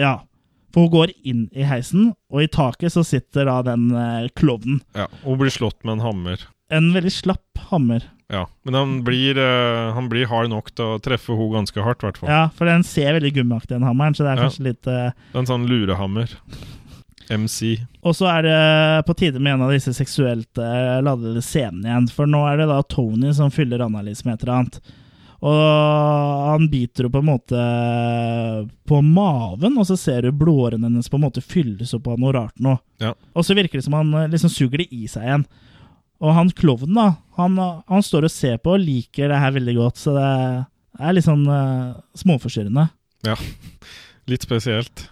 [SPEAKER 1] Ja. For hun går inn i heisen, og i taket så sitter da den eh, klovnen.
[SPEAKER 2] Ja, og blir slått med en hammer.
[SPEAKER 1] En veldig slapp hammer.
[SPEAKER 2] Ja, Men han blir, eh, han blir hard nok til å treffe henne ganske hardt, i hvert fall.
[SPEAKER 1] Ja, for den ser veldig gummiaktig, den hammeren, så det er
[SPEAKER 2] Ja.
[SPEAKER 1] kanskje litt eh,
[SPEAKER 2] Det er en sånn lurehammer. MC.
[SPEAKER 1] Og så er det på tide med en av disse seksuelt eh, ladede scenene igjen. For nå er det da Tony som fyller Anna-Lise med et eller annet. Og han biter henne på en måte på maven, og så ser du blodårene hennes på en måte fylles opp av noe rart noe.
[SPEAKER 2] Ja.
[SPEAKER 1] Og så virker det som han eh, liksom suger det i seg igjen. Og han klovnen, da, han, han står og ser på og liker det her veldig godt, så det er litt sånn eh, småforstyrrende.
[SPEAKER 2] ja. Litt spesielt.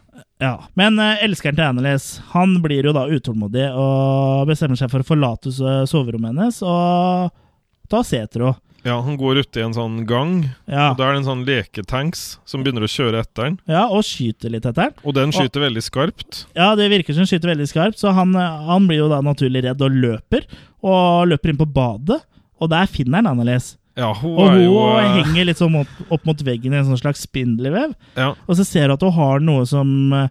[SPEAKER 1] Ja, Men eh, elskeren til Annelies han blir jo da utålmodig og bestemmer seg for å forlate so- soverommet hennes og ta seter henne.
[SPEAKER 2] Ja, han går uti en sånn gang,
[SPEAKER 1] Ja.
[SPEAKER 2] og da er det en sånn leketanks som begynner å kjøre etter han.
[SPEAKER 1] ja, og skyter litt etter den.
[SPEAKER 2] Og den skyter veldig skarpt.
[SPEAKER 1] Ja, det virker som hun skyter veldig skarpt, så han, eh, han blir jo da naturlig redd og løper. Og løper inn på badet, og der finner han Annelies.
[SPEAKER 2] Ja, hun
[SPEAKER 1] Og
[SPEAKER 2] er
[SPEAKER 1] hun
[SPEAKER 2] jo eh,
[SPEAKER 1] henger litt sånn opp, opp mot veggen i en sånn slags spindelvev,
[SPEAKER 2] Ja,
[SPEAKER 1] og så ser du at hun har noe som eh,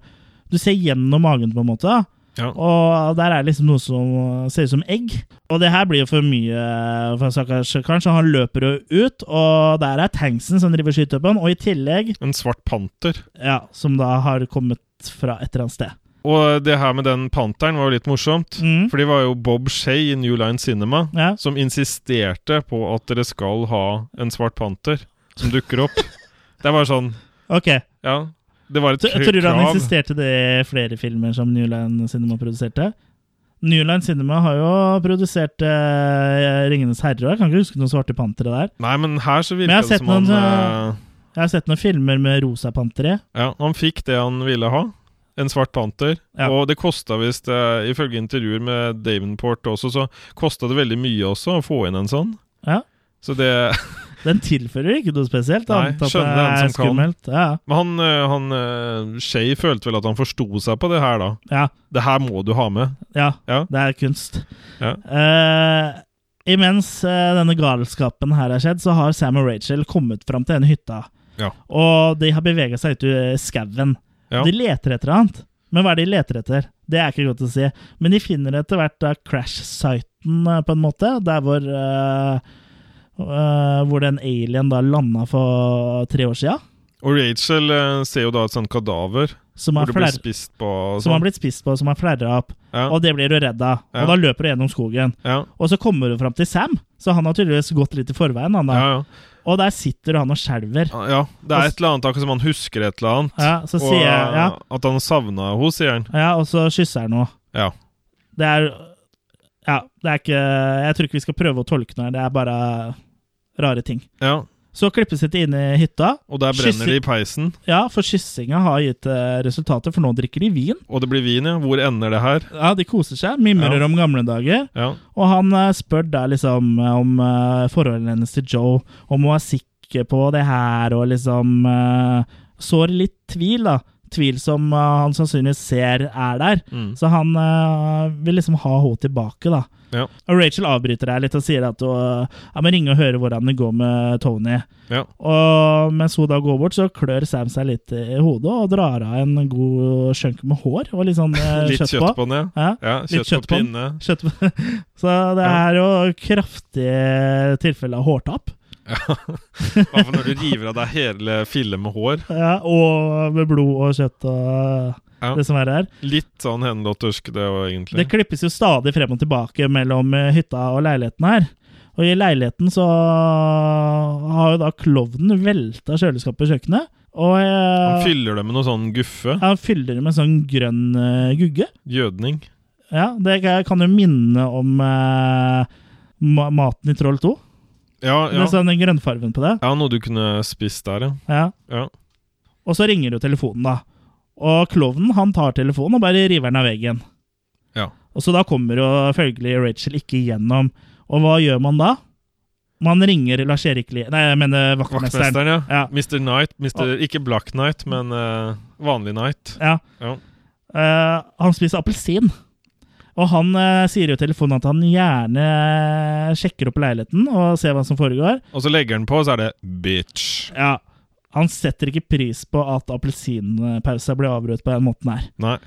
[SPEAKER 1] Du ser gjennom magen, på en måte. da.
[SPEAKER 2] ja.
[SPEAKER 1] Og der er det liksom noe som ser ut som egg. Og det her blir jo for mye for stakkars karen, så han løper jo ut, og der er tanksen som driver og skyter på han, og i tillegg,
[SPEAKER 2] En svart panter.
[SPEAKER 1] ja, som da har kommet fra et eller annet sted.
[SPEAKER 2] Og det her med den panteren var jo litt morsomt.
[SPEAKER 1] Mm.
[SPEAKER 2] For det var jo Bob Shay i New Line Cinema
[SPEAKER 1] Ja.
[SPEAKER 2] som insisterte på at dere skal ha en svart panter som dukker
[SPEAKER 1] [LAUGHS]
[SPEAKER 2] opp. det var sånn
[SPEAKER 1] Ok,
[SPEAKER 2] Ja. Det var et
[SPEAKER 1] så, tror du han
[SPEAKER 2] krav.
[SPEAKER 1] insisterte det i flere filmer som New Line Cinema produserte? New Line Cinema har jo produsert eh, Ringenes herre, og jeg kan ikke huske noen svarte pantere der.
[SPEAKER 2] Nei, men her så
[SPEAKER 1] Men jeg har
[SPEAKER 2] virka det
[SPEAKER 1] sett
[SPEAKER 2] som han
[SPEAKER 1] noen,
[SPEAKER 2] eh,
[SPEAKER 1] Jeg har sett noen filmer med rosa pantere.
[SPEAKER 2] Ja, han fikk det han ville ha. En svart panter.
[SPEAKER 1] Ja.
[SPEAKER 2] Og det kosta visst, eh, ifølge intervjuer med Davenport også, så kosta det veldig mye også å få inn en sånn.
[SPEAKER 1] Ja.
[SPEAKER 2] Så det
[SPEAKER 1] Den tilfører ikke noe spesielt,
[SPEAKER 2] Nei,
[SPEAKER 1] annet at det
[SPEAKER 2] skjønner den
[SPEAKER 1] er
[SPEAKER 2] som kan.
[SPEAKER 1] skummelt. Ja, ja.
[SPEAKER 2] Men han, eh, han eh, Shay følte vel at han forsto seg på det her, da.
[SPEAKER 1] Ja,
[SPEAKER 2] Det her må du ha med.
[SPEAKER 1] ja,
[SPEAKER 2] Ja.
[SPEAKER 1] det er kunst.
[SPEAKER 2] Ja.
[SPEAKER 1] Eh, imens eh, denne galskapen her har skjedd, så har Sam og Rachel kommet fram til denne hytta.
[SPEAKER 2] Ja.
[SPEAKER 1] Og de har bevega seg ut i eh, skauen.
[SPEAKER 2] Ja.
[SPEAKER 1] De leter etter annet. Men hva er det de leter etter? Det er ikke godt å si. Men de finner etter hvert da crash-siten, eh, på en måte. Der hvor eh, eh, Hvor den alien da landa for tre år sia.
[SPEAKER 2] Og Rachel eh, ser jo da et sånt kadaver
[SPEAKER 1] Som
[SPEAKER 2] hvor
[SPEAKER 1] har,
[SPEAKER 2] det blir
[SPEAKER 1] fler,
[SPEAKER 2] spist på. og
[SPEAKER 1] som har
[SPEAKER 2] sånn.
[SPEAKER 1] blitt spist på, som har flerra opp.
[SPEAKER 2] Ja.
[SPEAKER 1] Og det blir du redd av.
[SPEAKER 2] Ja.
[SPEAKER 1] Og da løper du gjennom skogen.
[SPEAKER 2] Ja.
[SPEAKER 1] Og så kommer hun fram til Sam, så han har tydeligvis gått litt i forveien. Han, da.
[SPEAKER 2] Ja, ja.
[SPEAKER 1] Og der sitter han og skjelver.
[SPEAKER 2] Ja, ja. Det er et eller annet akkurat som han husker et eller annet.
[SPEAKER 1] Ja, så sier jeg ja,
[SPEAKER 2] eh, at han savna henne, sier han.
[SPEAKER 1] ja, og så kysser han henne.
[SPEAKER 2] Ja.
[SPEAKER 1] Det er Ja, det er ikke Jeg tror ikke vi skal prøve å tolke noe, her, det er bare rare ting.
[SPEAKER 2] ja.
[SPEAKER 1] Så klippes det inn i hytta.
[SPEAKER 2] Og der brenner
[SPEAKER 1] Kysser-
[SPEAKER 2] de i peisen,
[SPEAKER 1] Ja, for kyssinga har gitt eh, resultater, for nå drikker de vin.
[SPEAKER 2] og det blir vin, ja. Hvor ender det her?
[SPEAKER 1] Ja, De koser seg, mimrer
[SPEAKER 2] Ja.
[SPEAKER 1] om gamle dager.
[SPEAKER 2] Ja.
[SPEAKER 1] Og han eh, spør da liksom eh, om eh, forholdet hennes til Joe, om hun er sikker på det her, og liksom eh, sår litt tvil, da. Tvil som eh, han sannsynligvis ser er der.
[SPEAKER 2] Mm.
[SPEAKER 1] Så han eh, vil liksom ha henne tilbake, da.
[SPEAKER 2] Ja.
[SPEAKER 1] Og Rachel avbryter deg litt og sier at hun eh, ja, må ringe og høre hvordan det går med Tony.
[SPEAKER 2] ja.
[SPEAKER 1] Og mens hun da går bort, så klør Sam seg litt i hodet og drar av en god skjønk med hår og litt sånn eh,
[SPEAKER 2] [LAUGHS] Litt kjøtt på den, ja.
[SPEAKER 1] Ja.
[SPEAKER 2] ja
[SPEAKER 1] Litt
[SPEAKER 2] kjøtt, på
[SPEAKER 1] den.
[SPEAKER 2] pinne.
[SPEAKER 1] Skjønt. [LAUGHS] Så det
[SPEAKER 2] Ja.
[SPEAKER 1] er jo kraftige tilfeller av hårtap.
[SPEAKER 2] I hvert fall når du river av deg hele fillet med hår.
[SPEAKER 1] Ja, og med blod og kjøtt og
[SPEAKER 2] Ja.
[SPEAKER 1] [LAUGHS] det som er her.
[SPEAKER 2] Litt sånn henlottersk, det òg, egentlig.
[SPEAKER 1] Det klippes jo stadig frem og tilbake mellom eh, hytta og leiligheten her. Og i leiligheten så har jo da klovnen velta kjøleskapet på kjøkkenet. Og
[SPEAKER 2] Han
[SPEAKER 1] eh,
[SPEAKER 2] fyller det med noe sånn guffe.
[SPEAKER 1] han fyller det med sånn grønn eh, gugge.
[SPEAKER 2] Gjødning.
[SPEAKER 1] Ja, det kan jo minne om eh, ma- maten i Troll 2.
[SPEAKER 2] Ja,
[SPEAKER 1] Det
[SPEAKER 2] ja.
[SPEAKER 1] er sånn den grønnfargen på det.
[SPEAKER 2] ja, noe du kunne spist der, ja.
[SPEAKER 1] Ja.
[SPEAKER 2] ja.
[SPEAKER 1] Og så ringer jo telefonen, da. Og klovnen han tar telefonen og bare river den av veggen.
[SPEAKER 2] Ja.
[SPEAKER 1] Og Så da kommer jo følgelig Rachel ikke igjennom. Og hva gjør man da? Man ringer Lars-Erik Lie... Nei, jeg mener vaktmesteren.
[SPEAKER 2] Vaktmesteren, ja.
[SPEAKER 1] Ja.
[SPEAKER 2] Mr. Knight. Mr. Ikke Black Knight, men eh, vanlig Knight.
[SPEAKER 1] Ja.
[SPEAKER 2] Ja.
[SPEAKER 1] Eh, han spiser appelsin. Og han eh, sier jo i telefonen at han gjerne eh, sjekker opp leiligheten og ser hva som foregår.
[SPEAKER 2] Og så legger han på, og så er det bitch.
[SPEAKER 1] Ja. Han setter ikke pris på at appelsinpausa blir avbrutt på den måten her.
[SPEAKER 2] Nei.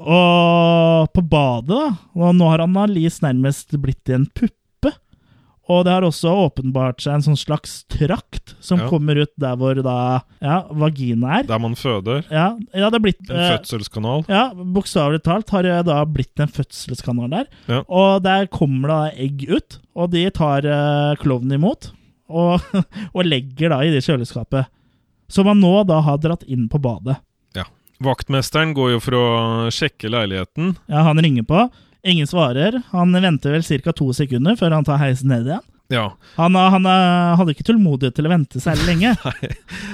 [SPEAKER 1] Og på badet, da. Og nå har Annalise nærmest blitt en puppe. Og det har også åpenbart seg en sånn slags trakt som
[SPEAKER 2] Ja.
[SPEAKER 1] kommer ut der hvor da ja, vagina er.
[SPEAKER 2] Der man føder.
[SPEAKER 1] Ja, ja, det har blitt
[SPEAKER 2] En
[SPEAKER 1] eh,
[SPEAKER 2] fødselskanal.
[SPEAKER 1] Ja, Bokstavelig talt har det da blitt en fødselskanal der.
[SPEAKER 2] Ja.
[SPEAKER 1] Og der kommer da egg ut, og de tar eh, klovnen imot. Og, [LAUGHS] og legger da i det kjøleskapet. Som han nå da har dratt inn på badet.
[SPEAKER 2] Ja. Vaktmesteren går jo for å sjekke leiligheten.
[SPEAKER 1] Ja, han ringer på. Ingen svarer. Han venter vel ca. to sekunder før han tar heisen ned igjen.
[SPEAKER 2] Ja.
[SPEAKER 1] Han, eh, han eh, hadde ikke tålmodighet til å vente særlig lenge.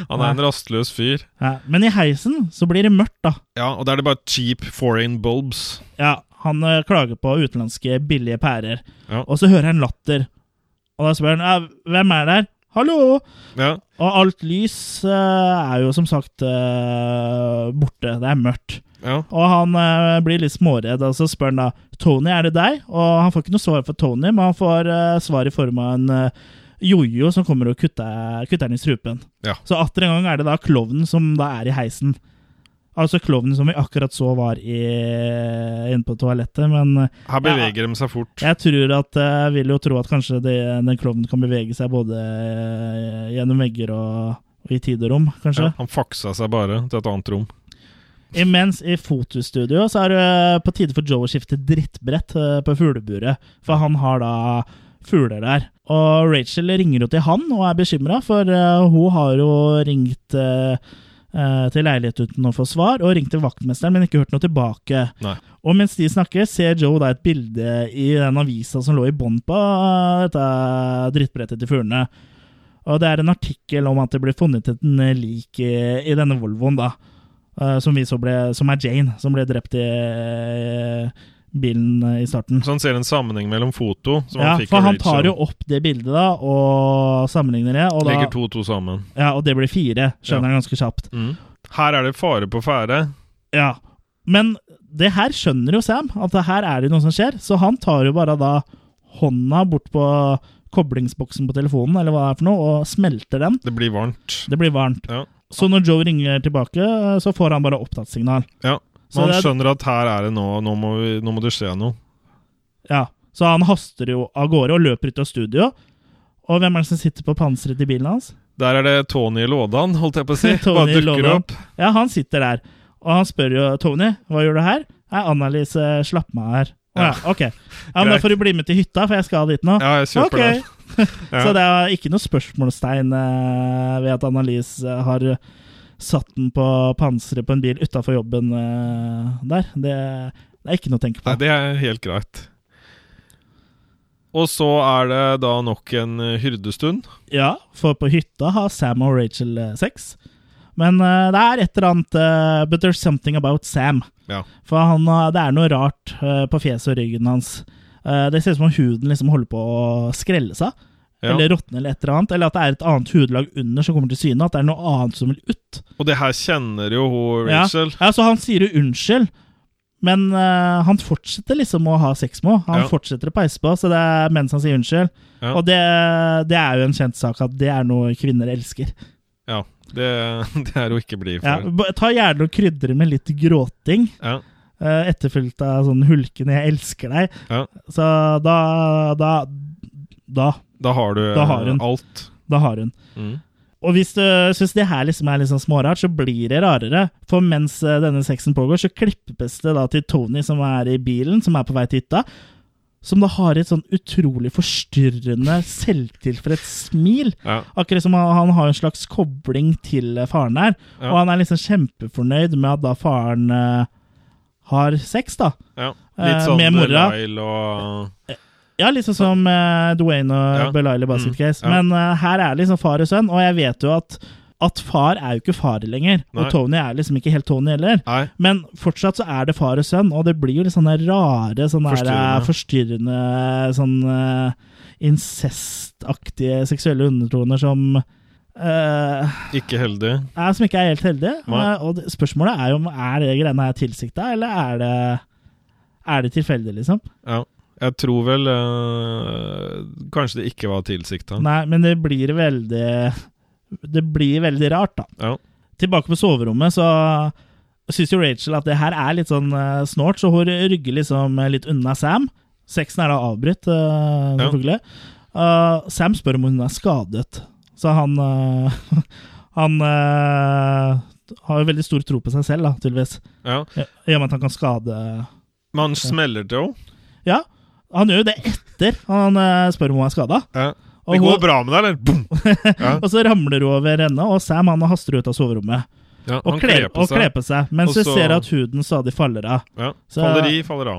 [SPEAKER 2] Han er en rastløs fyr.
[SPEAKER 1] Ja, men i heisen så blir det mørkt, da.
[SPEAKER 2] Ja, og da er det bare cheap foreign bulbs.
[SPEAKER 1] Ja, Han eh, klager på utenlandske billige pærer.
[SPEAKER 2] Ja.
[SPEAKER 1] Og så hører han latter. Og da spør han ja, hvem er der? Hallo!
[SPEAKER 2] Ja.
[SPEAKER 1] Og alt lys eh, er jo som sagt eh, borte. Det er mørkt.
[SPEAKER 2] ja.
[SPEAKER 1] Og han eh, blir litt småredd, og så spør han da Tony, er det deg? Og han får ikke noe svar for Tony, men han får eh, svar i form av en eh, jojo som kommer og kutter, kutter den i strupen.
[SPEAKER 2] Ja.
[SPEAKER 1] Så atter en gang er det da klovnen som da er i heisen. Altså klovnen som vi akkurat så var i, inne på toalettet, men eh,
[SPEAKER 2] Her beveger de seg fort.
[SPEAKER 1] jeg tror at eh, Jeg vil jo tro at kanskje det, den klovnen kan bevege seg både eh, gjennom vegger og, og i tid og rom, kanskje.
[SPEAKER 2] Ja, han faksa seg bare til et annet rom.
[SPEAKER 1] Imens i fotostudio så er det eh, på tide for Joe å skifte drittbrett eh, på fugleburet, for han har da fugler der. Og Rachel ringer jo til han og er bekymra, for eh, hun har jo ringt eh, eh, til leilighet uten å få svar, og ringt til vaktmesteren, men ikke hørt noe tilbake.
[SPEAKER 2] Nei.
[SPEAKER 1] Og mens de snakker, ser Joe da et bilde i den avisa som lå i bånn på eh, dette drittbrettet til fuglene. Og det er en artikkel om at det ble funnet et eh, lik i, i denne Volvoen, da. eh, Som, vi så ble, som er Jane, som ble drept i eh, bilen eh, i starten.
[SPEAKER 2] Så han ser en sammenheng mellom foto som
[SPEAKER 1] Ja,
[SPEAKER 2] han fikk
[SPEAKER 1] for
[SPEAKER 2] av
[SPEAKER 1] han
[SPEAKER 2] Rachel.
[SPEAKER 1] tar jo opp det bildet da, og sammenligner det. Og,
[SPEAKER 2] Legger
[SPEAKER 1] da,
[SPEAKER 2] to og to sammen.
[SPEAKER 1] ja, og det blir fire,
[SPEAKER 2] Ja.
[SPEAKER 1] skjønner han ganske kjapt.
[SPEAKER 2] Mm. Her er det fare på ferde.
[SPEAKER 1] Ja, Men det her skjønner jo Sam, at det her er det noe som skjer. Så han tar jo bare da hånda bort på koblingsboksen på telefonen, eller hva det er for noe, og smelter den.
[SPEAKER 2] Det blir varmt.
[SPEAKER 1] Det blir varmt.
[SPEAKER 2] Ja.
[SPEAKER 1] Så når Joe ringer tilbake, så får han bare opptattsignal.
[SPEAKER 2] ja.
[SPEAKER 1] Så
[SPEAKER 2] Man
[SPEAKER 1] det er-
[SPEAKER 2] skjønner at her er det nå, nå må, vi, nå må det skje noe.
[SPEAKER 1] Ja, Så han haster jo av gårde og løper ut av studio. Og hvem er det som sitter på panseret til bilen
[SPEAKER 2] [LAUGHS]
[SPEAKER 1] hans?
[SPEAKER 2] Der er det Tony Lådan, [LAUGHS] holdt jeg på å si.
[SPEAKER 1] [LAUGHS] Tony
[SPEAKER 2] Bare dukker
[SPEAKER 1] Lådan.
[SPEAKER 2] opp.
[SPEAKER 1] Ja, han sitter der, og han spør jo Tony hva gjør du her. Nei, Annalise slapp meg her. Å ja, ok. Ja, men Da
[SPEAKER 2] Greit.
[SPEAKER 1] får du bli med til hytta, for jeg skal dit nå.
[SPEAKER 2] Ja, jeg kjøper
[SPEAKER 1] Ok.
[SPEAKER 2] det. Ja.
[SPEAKER 1] Så det er ikke noe spørsmålstegn eh, ved at Annalise eh, har satt den på panseret på en bil utafor jobben eh, der. Det, det er ikke noe å tenke på.
[SPEAKER 2] Nei, det er helt greit. Og så er det da nok en eh, hyrdestund.
[SPEAKER 1] Ja, for på hytta har Sam og Rachel eh, sex. Men eh, det er et eller annet eh, But there's something about Sam.
[SPEAKER 2] Ja.
[SPEAKER 1] For han, har- det er noe rart eh, på fjeset og ryggen hans. Eh, det ser ut som om huden liksom holder på å skrelle seg.
[SPEAKER 2] Ja.
[SPEAKER 1] Eller råtne, eller et eller annet. Eller at det er et annet hudlag under som kommer til syne. At det er noe annet som vil ut.
[SPEAKER 2] Og det her kjenner jo hun
[SPEAKER 1] Ja.
[SPEAKER 2] Rachel.
[SPEAKER 1] Ja, så han sier jo unnskyld, men eh, han fortsetter liksom å ha sex med henne. Han
[SPEAKER 2] Ja.
[SPEAKER 1] fortsetter å peise på, så det er mens han sier unnskyld.
[SPEAKER 2] Ja.
[SPEAKER 1] Og det, det er jo en kjent sak at det er noe kvinner elsker.
[SPEAKER 2] Ja, det, [LAUGHS] det er hun ikke blid
[SPEAKER 1] Ja,
[SPEAKER 2] for.
[SPEAKER 1] b- ta gjerne og krydre med litt gråting,
[SPEAKER 2] Ja.
[SPEAKER 1] uh, etterfulgt av sånn hulkende 'jeg elsker deg'.
[SPEAKER 2] Ja.
[SPEAKER 1] Så da Da, da,
[SPEAKER 2] Da har du eh,
[SPEAKER 1] Da har hun.
[SPEAKER 2] alt.
[SPEAKER 1] da har hun.
[SPEAKER 2] Mm.
[SPEAKER 1] Og hvis du syns det her liksom er litt sånn smårart, så blir det rarere. For mens eh, denne sexen pågår, så klippes det da til Tony, som er i bilen, som er på vei til hytta. Som da har et sånn utrolig forstyrrende, selvtilfreds smil.
[SPEAKER 2] Ja.
[SPEAKER 1] Akkurat som han, han har en slags kobling til eh, faren her.
[SPEAKER 2] Ja.
[SPEAKER 1] Og han er liksom kjempefornøyd med at da faren eh, har sex, da.
[SPEAKER 2] Ja.
[SPEAKER 1] Eh,
[SPEAKER 2] Litt sånn
[SPEAKER 1] med mora.
[SPEAKER 2] Lyle og
[SPEAKER 1] Ja, liksom som eh, Dwayne og
[SPEAKER 2] Ja.
[SPEAKER 1] Belial i Basket
[SPEAKER 2] Mm,
[SPEAKER 1] Case.
[SPEAKER 2] ja.
[SPEAKER 1] Men eh, her er det liksom far og sønn, og jeg vet jo at, at far er jo ikke far lenger.
[SPEAKER 2] Nei.
[SPEAKER 1] Og Tony er liksom ikke helt Tony heller.
[SPEAKER 2] Nei.
[SPEAKER 1] Men fortsatt så er det far og sønn, og det blir jo litt sånne rare, sånne forstyrrende,
[SPEAKER 2] Forstyrrende.
[SPEAKER 1] forstyrrende sånn eh, incestaktige seksuelle undertoner som eh,
[SPEAKER 2] Ikke heldig.
[SPEAKER 1] er, Som ikke er helt heldige.
[SPEAKER 2] Nei.
[SPEAKER 1] Eh, og det, spørsmålet er jo om er det greiene her tilsikta, eller er det, er det tilfeldig, liksom?
[SPEAKER 2] Ja. Jeg tror vel eh, kanskje det ikke var tilsikta.
[SPEAKER 1] Nei, men det blir veldig det blir veldig rart, da.
[SPEAKER 2] Ja.
[SPEAKER 1] Tilbake på soverommet, så syns jo Rachel at det her er litt sånn eh, snålt, så hun rygger liksom eh, litt unna Sam. Sexen er da avbrutt, eh, selvfølgelig. Eh, Sam spør om hun er skadet, så han eh, [LAUGHS] Han eh, har jo veldig stor tro på seg selv, da, tydeligvis.
[SPEAKER 2] ja.
[SPEAKER 1] I i og med at han kan skade
[SPEAKER 2] Men han smeller til henne.
[SPEAKER 1] Ja, han gjør jo det etter han eh, spør om hun er skada.
[SPEAKER 2] Ja.
[SPEAKER 1] Og
[SPEAKER 2] Det går
[SPEAKER 1] hun-
[SPEAKER 2] bra med deg, eller?
[SPEAKER 1] [LAUGHS]
[SPEAKER 2] Boom! Ja.
[SPEAKER 1] Og så ramler hun over ende, og Sam han haster ut av soverommet.
[SPEAKER 2] Ja,
[SPEAKER 1] Og
[SPEAKER 2] han
[SPEAKER 1] kler
[SPEAKER 2] kler på
[SPEAKER 1] og
[SPEAKER 2] seg.
[SPEAKER 1] kler på seg, mens
[SPEAKER 2] Og
[SPEAKER 1] vi
[SPEAKER 2] så-
[SPEAKER 1] ser at huden stadig faller av.
[SPEAKER 2] Ja.
[SPEAKER 1] Så-
[SPEAKER 2] Faller i, faller
[SPEAKER 1] [LAUGHS]
[SPEAKER 2] av.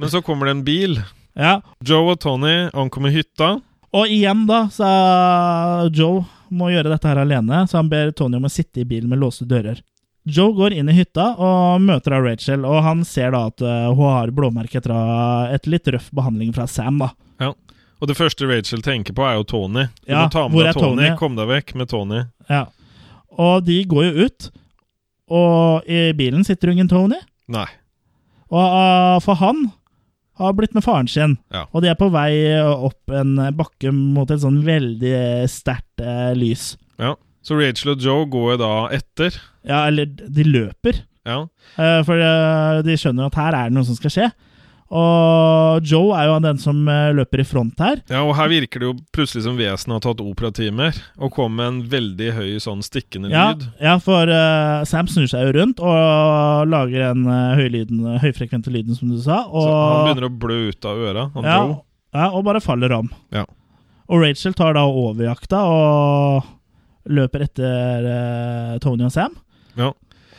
[SPEAKER 2] Men så kommer det en bil.
[SPEAKER 1] Ja,
[SPEAKER 2] Joe og Tony ankommer hytta.
[SPEAKER 1] Og igjen, da, så Joe må gjøre dette her alene, så han ber Tony om å sitte i bilen med låste dører. Joe går inn i hytta og møter da Rachel, og han ser da at eh, hun har blåmerke etter eh, et litt røff behandling fra Sam, da.
[SPEAKER 2] Ja. Og det første Rachel tenker på, er jo Tony. Du
[SPEAKER 1] Ja,
[SPEAKER 2] må ta med
[SPEAKER 1] hvor er
[SPEAKER 2] deg Tony.
[SPEAKER 1] Tony?
[SPEAKER 2] Kom deg vekk med Tony.
[SPEAKER 1] Ja. Og de går jo ut, og i bilen sitter ungen Tony,
[SPEAKER 2] Nei.
[SPEAKER 1] og eh, for han har blitt med faren sin,
[SPEAKER 2] Ja.
[SPEAKER 1] og de er på vei opp en bakke mot et sånn veldig sterkt eh, lys.
[SPEAKER 2] Ja. Så Rachel og Joe går jo da etter.
[SPEAKER 1] Ja, eller de løper.
[SPEAKER 2] Ja.
[SPEAKER 1] Eh, For eh, de skjønner jo at her er det noe som skal skje. Og Joe er jo den som eh, løper i front her.
[SPEAKER 2] ja, og her virker det jo plutselig som vesenet har tatt operatimer, og kom med en veldig høy sånn stikkende
[SPEAKER 1] Ja,
[SPEAKER 2] lyd.
[SPEAKER 1] ja for eh, Sam snur seg jo rundt og lager den eh, høylyden- høyfrekvente lyden, som du sa. Og,
[SPEAKER 2] Så han begynner å blø ut av øra, han
[SPEAKER 1] ja,
[SPEAKER 2] Joe.
[SPEAKER 1] ja, og bare faller om.
[SPEAKER 2] Ja.
[SPEAKER 1] Og Rachel tar da over jakta og løper etter eh, Tony og Sam.
[SPEAKER 2] Ja.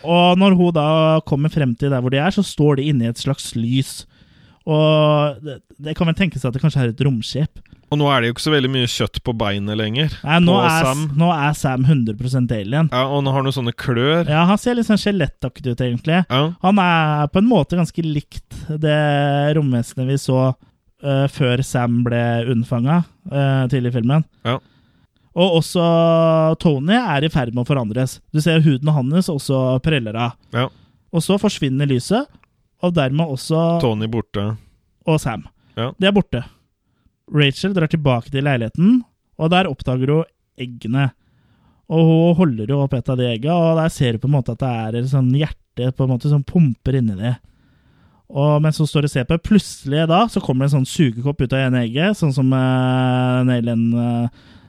[SPEAKER 1] Og når hun da kommer frem til der hvor de er, så står de inne i et slags lys. Og det, det kan vel tenkes at det kanskje er et romskip.
[SPEAKER 2] Og nå er det jo ikke så veldig mye kjøtt på beinet lenger.
[SPEAKER 1] Nei, nå,
[SPEAKER 2] på
[SPEAKER 1] er,
[SPEAKER 2] Sam.
[SPEAKER 1] nå er Sam 100 alien.
[SPEAKER 2] Ja, og han har noen sånne klør.
[SPEAKER 1] Ja, Han ser litt sånn skjelettaktig ut, egentlig.
[SPEAKER 2] Ja.
[SPEAKER 1] Han er på en måte ganske likt det romvesenet vi så eh, før Sam ble unnfanga tidlig i filmen.
[SPEAKER 2] Ja.
[SPEAKER 1] Og også Tony er i ferd med å forandres. Du ser huden hans også preller av.
[SPEAKER 2] Ja.
[SPEAKER 1] Og så forsvinner lyset, og dermed også
[SPEAKER 2] Tony borte.
[SPEAKER 1] og Sam.
[SPEAKER 2] Ja.
[SPEAKER 1] De er borte. Rachel drar tilbake til leiligheten, og der oppdager hun eggene. Og hun holder jo opp et av de egga, og der ser hun på en måte at det er et sånn hjerte på en måte som pumper inni det. Og mens hun står og ser på, plutselig da, så kommer det en sånn sugekopp ut av ene egget, sånn som uh, Nailen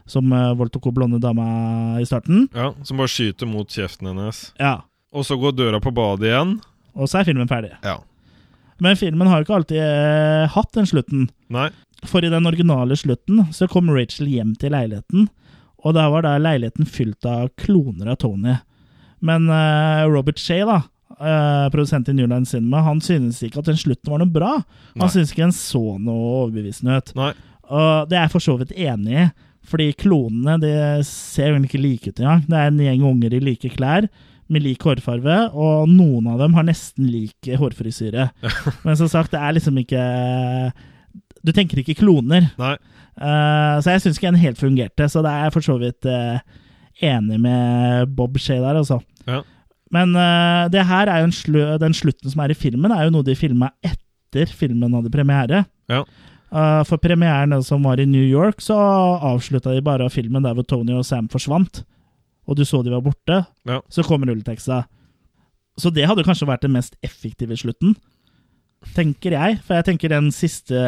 [SPEAKER 1] som eh, voldtok hun blonde dama i starten.
[SPEAKER 2] Ja, Som bare skyter mot kjeften hennes.
[SPEAKER 1] Ja,
[SPEAKER 2] Og så går døra på badet igjen.
[SPEAKER 1] og så er filmen ferdig.
[SPEAKER 2] Ja.
[SPEAKER 1] Men filmen har jo ikke alltid eh, hatt den slutten.
[SPEAKER 2] Nei.
[SPEAKER 1] For i den originale slutten så kom Rachel hjem til leiligheten, og da var da leiligheten fylt av kloner av Tony. Men eh, Robert Shay, da, eh, produsent i New Line Cinema, han synes ikke at den slutten var noe bra.
[SPEAKER 2] Nei.
[SPEAKER 1] Han synes ikke den så noe overbevisende ut.
[SPEAKER 2] Nei.
[SPEAKER 1] Og det er jeg for så vidt enig i, fordi klonene de ser jo egentlig ikke like ut engang. Det er en gjeng unger i like klær, med lik hårfarve, og noen av dem har nesten lik hårfrisyre. Men som sagt, det er liksom ikke Du tenker ikke kloner.
[SPEAKER 2] Nei.
[SPEAKER 1] Eh, så jeg syns ikke den helt fungerte, så det er jeg for så vidt eh, enig med Bob Shea der, altså.
[SPEAKER 2] Ja.
[SPEAKER 1] Men eh, det her er jo en slu, den slutten som er i filmen, er jo noe de filma etter filmen hadde premiere.
[SPEAKER 2] Ja.
[SPEAKER 1] Eh, for premieren som var i New York, så avslutta de bare filmen der hvor Tony og Sam forsvant. Og du så de var borte.
[SPEAKER 2] Ja.
[SPEAKER 1] Så kom rulleteksta. Så det hadde kanskje vært den mest effektive slutten, tenker jeg. For jeg tenker den siste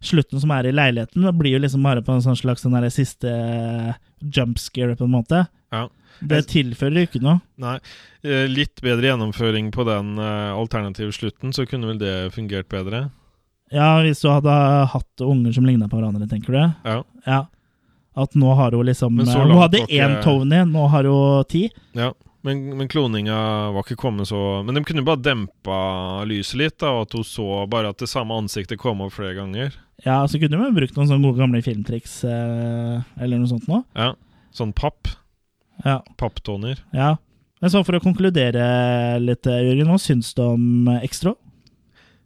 [SPEAKER 1] slutten som er i leiligheten, det blir jo liksom bare på en sånn slags den der siste jumpscare, på en måte.
[SPEAKER 2] Ja.
[SPEAKER 1] Det tilfører jo ikke noe.
[SPEAKER 2] Nei. Eh, Litt bedre gjennomføring på den eh, alternative slutten, så kunne vel det fungert bedre.
[SPEAKER 1] Ja, hvis du hadde hatt unger som ligna på hverandre, tenker du?
[SPEAKER 2] Ja.
[SPEAKER 1] Ja. At nå har hun liksom
[SPEAKER 2] Men så
[SPEAKER 1] Hun
[SPEAKER 2] langt
[SPEAKER 1] hadde
[SPEAKER 2] var ikke-
[SPEAKER 1] én Tony, nå har hun ti.
[SPEAKER 2] ja. Men, men kloninga var ikke kommet så Men de kunne bare dempa lyset litt, da, og at hun så bare at det samme ansiktet kom opp flere ganger.
[SPEAKER 1] Ja, så kunne hun brukt noen sånne gode gamle filmtriks eh, eller noe sånt nå.
[SPEAKER 2] Ja. Sånn papp.
[SPEAKER 1] Ja.
[SPEAKER 2] Papptoner.
[SPEAKER 1] ja. Men sånn for å konkludere litt, eh, Jørgen, hva syns du om eh, Extra?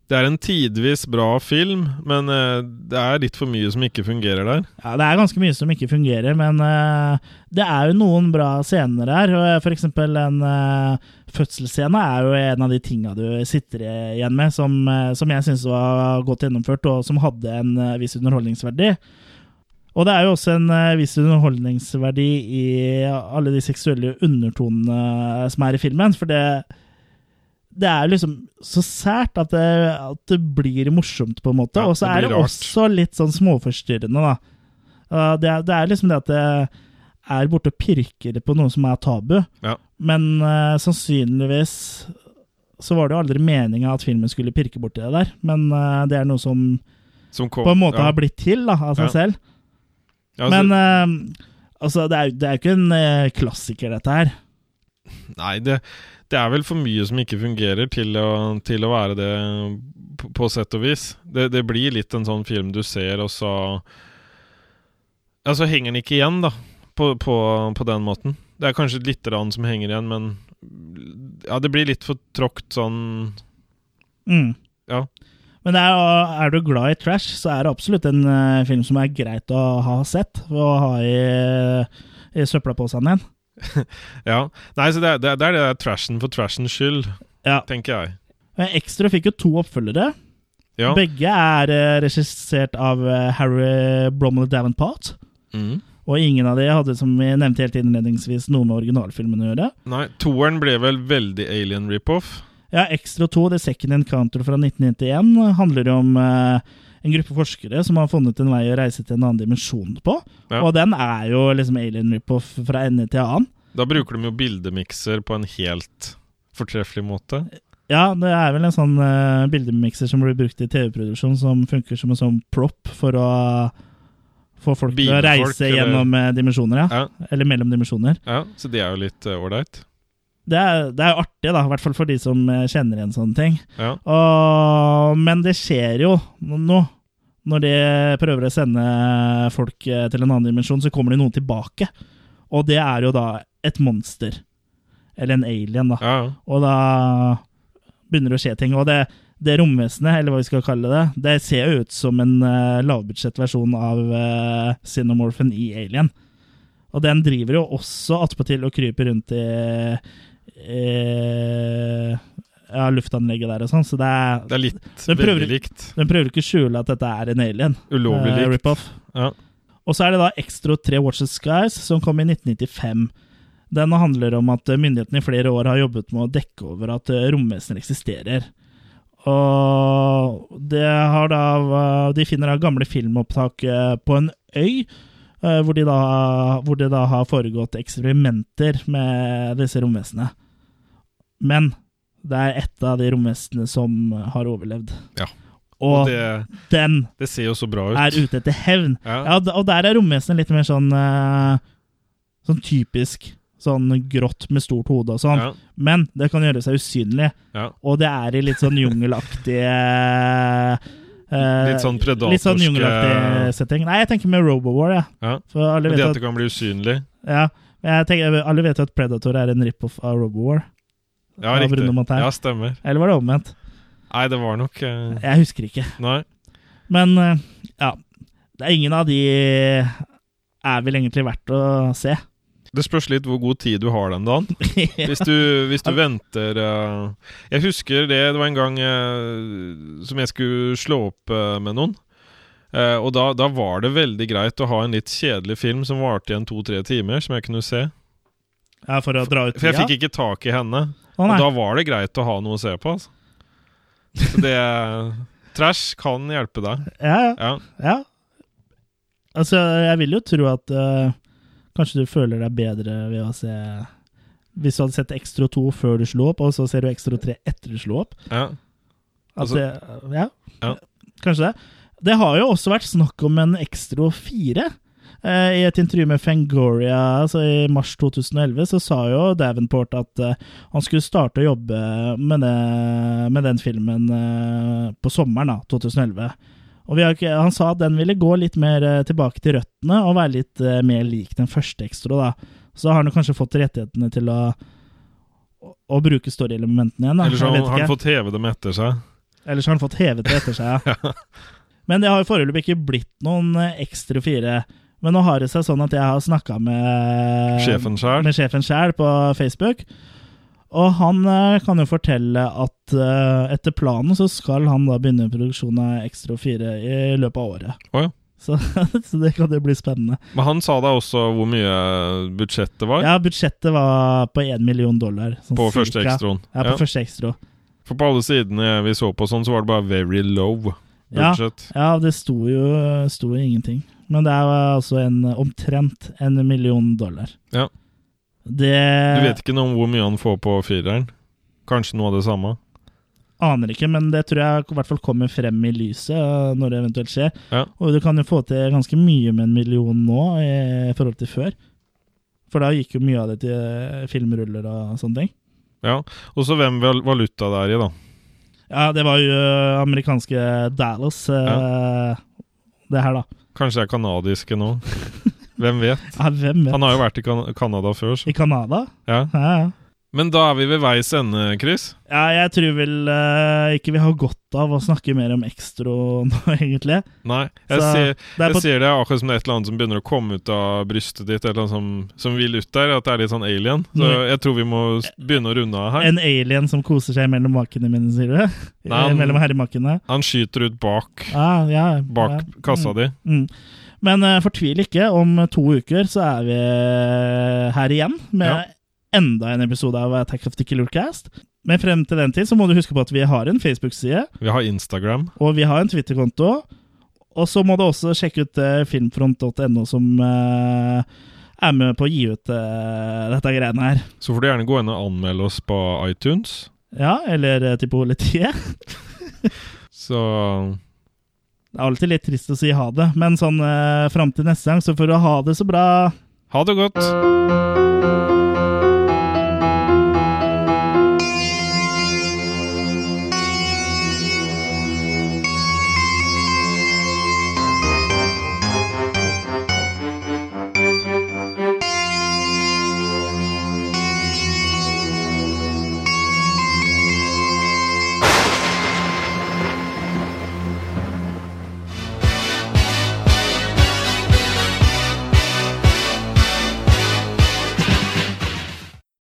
[SPEAKER 2] Det er en tidvis bra film, men eh, det er litt for mye som ikke fungerer der.
[SPEAKER 1] Ja, Det er ganske mye som ikke fungerer, men eh, det er jo noen bra scener her. og, eh, For eksempel en eh, fødselsscene er jo en av de tinga du sitter igjen med, som, eh, som jeg syns var godt gjennomført, og som hadde en eh, viss underholdningsverdi. Og det er jo også en eh, viss underholdningsverdi i alle de seksuelle undertonene eh, som er i filmen, for det det er liksom så sært at det, at det blir morsomt, på en måte.
[SPEAKER 2] Ja,
[SPEAKER 1] og så
[SPEAKER 2] det
[SPEAKER 1] er
[SPEAKER 2] blir
[SPEAKER 1] det
[SPEAKER 2] rart.
[SPEAKER 1] også litt sånn småforstyrrende, da. Uh, det, er- det er liksom det at det er borte og pirker på noe som er tabu,
[SPEAKER 2] Ja.
[SPEAKER 1] men eh, sannsynligvis så var det jo aldri meninga at filmen skulle pirke borti det der, men eh, det er noe som
[SPEAKER 2] Som kom,
[SPEAKER 1] på en måte
[SPEAKER 2] ja.
[SPEAKER 1] har blitt til da, av seg
[SPEAKER 2] Ja.
[SPEAKER 1] selv.
[SPEAKER 2] Ja, altså,
[SPEAKER 1] Men eh, altså, det er jo det er jo ikke en eh, klassiker, dette her.
[SPEAKER 2] Nei, det, det er vel for mye som ikke fungerer til å, til å være det på, på sett og vis. Det, det blir litt en sånn film du ser, og så Ja, så henger den ikke igjen, da, på, på, på den måten. Det er kanskje lite grann som henger igjen, men Ja, det blir litt for tråkt sånn
[SPEAKER 1] Mm.
[SPEAKER 2] Ja.
[SPEAKER 1] Men det er, jo- er du glad i trash, så er det absolutt en eh, film som er greit å ha sett og ha i, i søppelposen din.
[SPEAKER 2] Ja. Nei, så det, er- det, er- det er det der trashen for trashens skyld,
[SPEAKER 1] Ja.
[SPEAKER 2] tenker jeg.
[SPEAKER 1] Men Extra fikk jo to oppfølgere.
[SPEAKER 2] Ja.
[SPEAKER 1] Begge er eh, regissert av eh, Harry Bromley Davenport.
[SPEAKER 2] Mm.
[SPEAKER 1] Og ingen av de hadde, som vi nevnte helt innledningsvis, noe med originalfilmen å gjøre.
[SPEAKER 2] Nei, toeren ble vel veldig alien rip-off.
[SPEAKER 1] Ja, Extra 2, The Second Encounter fra 1991, handler om eh, en gruppe forskere som har funnet en vei å reise til en annen dimensjon på.
[SPEAKER 2] Ja.
[SPEAKER 1] Og den er jo liksom alien rip-off fra ende til annen.
[SPEAKER 2] Da bruker de jo bildemikser på en helt fortreffelig måte.
[SPEAKER 1] Ja, det er vel en sånn eh, bildemikser som blir brukt i TV-produksjon, som funker som en sånn prop for å få folk til å
[SPEAKER 2] Bilfolk,
[SPEAKER 1] reise
[SPEAKER 2] eller-
[SPEAKER 1] gjennom eh, dimensjoner, ja.
[SPEAKER 2] Ja.
[SPEAKER 1] Eller mellom dimensjoner.
[SPEAKER 2] Ja, så det er jo litt eh, ålreit.
[SPEAKER 1] Det er, det er jo artig, da, i hvert fall for de som eh, kjenner igjen sånne ting.
[SPEAKER 2] ja.
[SPEAKER 1] Åh, men det skjer jo noe. Når de prøver å sende folk eh, til en annen dimensjon, så kommer det noen tilbake. Og det er jo da et monster. Eller en alien, da.
[SPEAKER 2] ja, ja.
[SPEAKER 1] Og da begynner det å skje ting. Og det, det romvesenet, eller hva vi skal kalle det, det ser jo ut som en uh, lavbudsjettversjon av uh, Cinemorphen i Alien. Og den driver jo også attpåtil og kryper rundt i eh, ja, luftanlegget der og sånn, så det er,
[SPEAKER 2] Det er litt
[SPEAKER 1] Den prøver-
[SPEAKER 2] veldig likt.
[SPEAKER 1] den prøver ikke å skjule at dette er en alien.
[SPEAKER 2] Ulovlig
[SPEAKER 1] eh,
[SPEAKER 2] likt.
[SPEAKER 1] rip-off.
[SPEAKER 2] Ja.
[SPEAKER 1] Og så er det da Extra 3 Watch the Skies, som kom i 1995. Den handler om at eh, myndighetene i flere år har jobbet med å dekke over at eh, romvesener eksisterer. Og det har da eh, De finner da gamle filmopptak eh, på en øy. eh, Hvor, de da, hvor det da har foregått eksperimenter med disse romvesenene. Men det er ett av de romvesenene som har overlevd.
[SPEAKER 2] Ja.
[SPEAKER 1] Og,
[SPEAKER 2] Det,
[SPEAKER 1] den
[SPEAKER 2] det ser jo så bra ut.
[SPEAKER 1] er ute etter hevn.
[SPEAKER 2] Ja.
[SPEAKER 1] Ja, d- og der er romvesenet litt mer sånn eh, Sånn typisk sånn grått med stort hode og sånn.
[SPEAKER 2] Ja.
[SPEAKER 1] Men det kan gjøre seg usynlig,
[SPEAKER 2] Ja.
[SPEAKER 1] og det er i litt sånn jungelaktige eh,
[SPEAKER 2] Litt sånn
[SPEAKER 1] Litt sånn jungelaktig
[SPEAKER 2] predatorske
[SPEAKER 1] setting. Nei, jeg tenker mer Robowar, jeg.
[SPEAKER 2] Ja.
[SPEAKER 1] For alle
[SPEAKER 2] Men Det at
[SPEAKER 1] vet,
[SPEAKER 2] det kan bli usynlig.
[SPEAKER 1] at, ja, men jeg tenker, alle vet jo at Predator er en rip-off av Robowar.
[SPEAKER 2] Ja,
[SPEAKER 1] Av
[SPEAKER 2] riktig.
[SPEAKER 1] Bruno Mattei.
[SPEAKER 2] Ja, stemmer.
[SPEAKER 1] Eller var det omvendt?
[SPEAKER 2] Nei, det var nok eh,
[SPEAKER 1] Jeg husker ikke.
[SPEAKER 2] Nei.
[SPEAKER 1] Men eh, ja, det er ingen av de er vel egentlig verdt å se. [LAUGHS]
[SPEAKER 2] Det spørs litt hvor god tid du har den dagen. Hvis du, hvis du venter eh, Jeg husker det, det var en gang eh, som jeg skulle slå opp eh, med noen. Eh, og da, da var det veldig greit å ha en litt kjedelig film som varte igjen to-tre timer, som jeg kunne se.
[SPEAKER 1] Ja, for å dra ut
[SPEAKER 2] For jeg fikk ikke tak i henne.
[SPEAKER 1] Å,
[SPEAKER 2] Og
[SPEAKER 1] nei.
[SPEAKER 2] da var det greit å ha noe å se på, altså. Så det [LAUGHS] Trash kan hjelpe deg.
[SPEAKER 1] Ja, ja,
[SPEAKER 2] Ja.
[SPEAKER 1] ja. Altså, jeg vil jo tro at eh, kanskje du føler deg bedre ved å se Hvis du hadde sett Extra 2 før du slo opp, og så ser du Extra 3 etter du slo opp.
[SPEAKER 2] ja.
[SPEAKER 1] At
[SPEAKER 2] Altså-
[SPEAKER 1] det, ja,
[SPEAKER 2] Ja.
[SPEAKER 1] kanskje det. Det har jo også vært snakk om en Extra 4. Eh, I et intervju med Fangoria altså i mars 2011 så sa jo Davenport at eh, han skulle starte å jobbe med, det, med den filmen eh, på sommeren da, 2011. Og vi har ikke, han sa at den ville gå litt mer eh, tilbake til røttene og være litt eh, mer lik den første Extra. da. Så har han jo kanskje fått rettighetene til å, å, å bruke storyelementene igjen. da.
[SPEAKER 2] Eller så
[SPEAKER 1] Jeg vet
[SPEAKER 2] har han
[SPEAKER 1] ikke.
[SPEAKER 2] fått heve dem etter seg.
[SPEAKER 1] Ellers har han fått hevet det etter seg,
[SPEAKER 2] [LAUGHS]
[SPEAKER 1] ja. Men det har jo foreløpig ikke blitt noen eh, ekstra fire. Men nå har det seg sånn at jeg har snakka med
[SPEAKER 2] Sjefen sjøl.
[SPEAKER 1] med sjefen sjæl på Facebook. Og han eh, kan jo fortelle at eh, etter planen så skal han da begynne produksjonen av Extra 4 i løpet av året.
[SPEAKER 2] Å ja.
[SPEAKER 1] Så, [LAUGHS] så det kan jo bli spennende.
[SPEAKER 2] Men han sa da også hvor mye budsjettet var
[SPEAKER 1] Ja, budsjettet var på 1 million dollar. sånn
[SPEAKER 2] på
[SPEAKER 1] cirka.
[SPEAKER 2] første ekstraen.
[SPEAKER 1] Ja, på
[SPEAKER 2] Ja.
[SPEAKER 1] første ekstra.
[SPEAKER 2] For på alle sidene vi så på sånn, så var det bare very low
[SPEAKER 1] Ja.
[SPEAKER 2] budget.
[SPEAKER 1] Ja, det sto jo, sto jo ingenting. Men det er altså en, omtrent en million dollar.
[SPEAKER 2] Ja.
[SPEAKER 1] Det
[SPEAKER 2] Du vet ikke noe om hvor mye han får på fireren? Kanskje noe av det samme?
[SPEAKER 1] aner ikke, men det tror jeg i hvert fall kommer frem i lyset øh, når det eventuelt skjer.
[SPEAKER 2] Ja.
[SPEAKER 1] Og du kan jo få til ganske mye med en million nå eh, i forhold til før. For da gikk jo mye av det til eh, filmruller og sånne ting.
[SPEAKER 2] Ja. Og så hvem val- valuta det er i, da.
[SPEAKER 1] Ja, det var jo øh, amerikanske Dallas, eh, det her, da.
[SPEAKER 2] Kanskje det er kanadiske
[SPEAKER 1] [LAUGHS]
[SPEAKER 2] nå. Hvem vet?
[SPEAKER 1] Ja, hvem vet?
[SPEAKER 2] Han har jo vært i kan Canada før, så
[SPEAKER 1] I Canada?
[SPEAKER 2] ja.
[SPEAKER 1] Ja, ja.
[SPEAKER 2] Men da er vi ved veis ende, Chris.
[SPEAKER 1] ja, jeg tror vel eh, ikke vi har godt av å snakke mer om Extro nå, [LAUGHS] egentlig.
[SPEAKER 2] Nei. Jeg,
[SPEAKER 1] Så
[SPEAKER 2] ser,
[SPEAKER 1] Det er
[SPEAKER 2] jeg
[SPEAKER 1] på
[SPEAKER 2] ser det er akkurat som det er et eller annet som begynner å komme ut av brystet ditt, et eller annet som, som vil ut der. At det er litt sånn alien. Så
[SPEAKER 1] Nei.
[SPEAKER 2] jeg tror vi må s- begynne å runde av her.
[SPEAKER 1] en alien som koser seg mellom makene mine, sier du? Eh,
[SPEAKER 2] Nei, han-
[SPEAKER 1] mellom herremakene?
[SPEAKER 2] Han skyter ut bak,
[SPEAKER 1] Ja, ja,
[SPEAKER 2] bak
[SPEAKER 1] ja.
[SPEAKER 2] kassa di.
[SPEAKER 1] Mm. Men eh, fortvil ikke, om to uker så er vi eh, her igjen med
[SPEAKER 2] Ja.
[SPEAKER 1] enda en episode av Attack of the Killer Cast. Men frem til den tid så må du huske på at vi har en Facebook-side,
[SPEAKER 2] Vi har Instagram.
[SPEAKER 1] og vi har en Twitter-konto. Og så må du også sjekke ut eh, filmfront.no, som eh, er med på å gi ut eh, dette greiene her.
[SPEAKER 2] Så får du gjerne gå inn og anmelde oss på iTunes.
[SPEAKER 1] Ja, eller eh, til politiet.
[SPEAKER 2] Så
[SPEAKER 1] Det er alltid litt trist å si ha det, men sånn eh, fram til neste gang så får du ha det så bra.
[SPEAKER 2] ha det godt!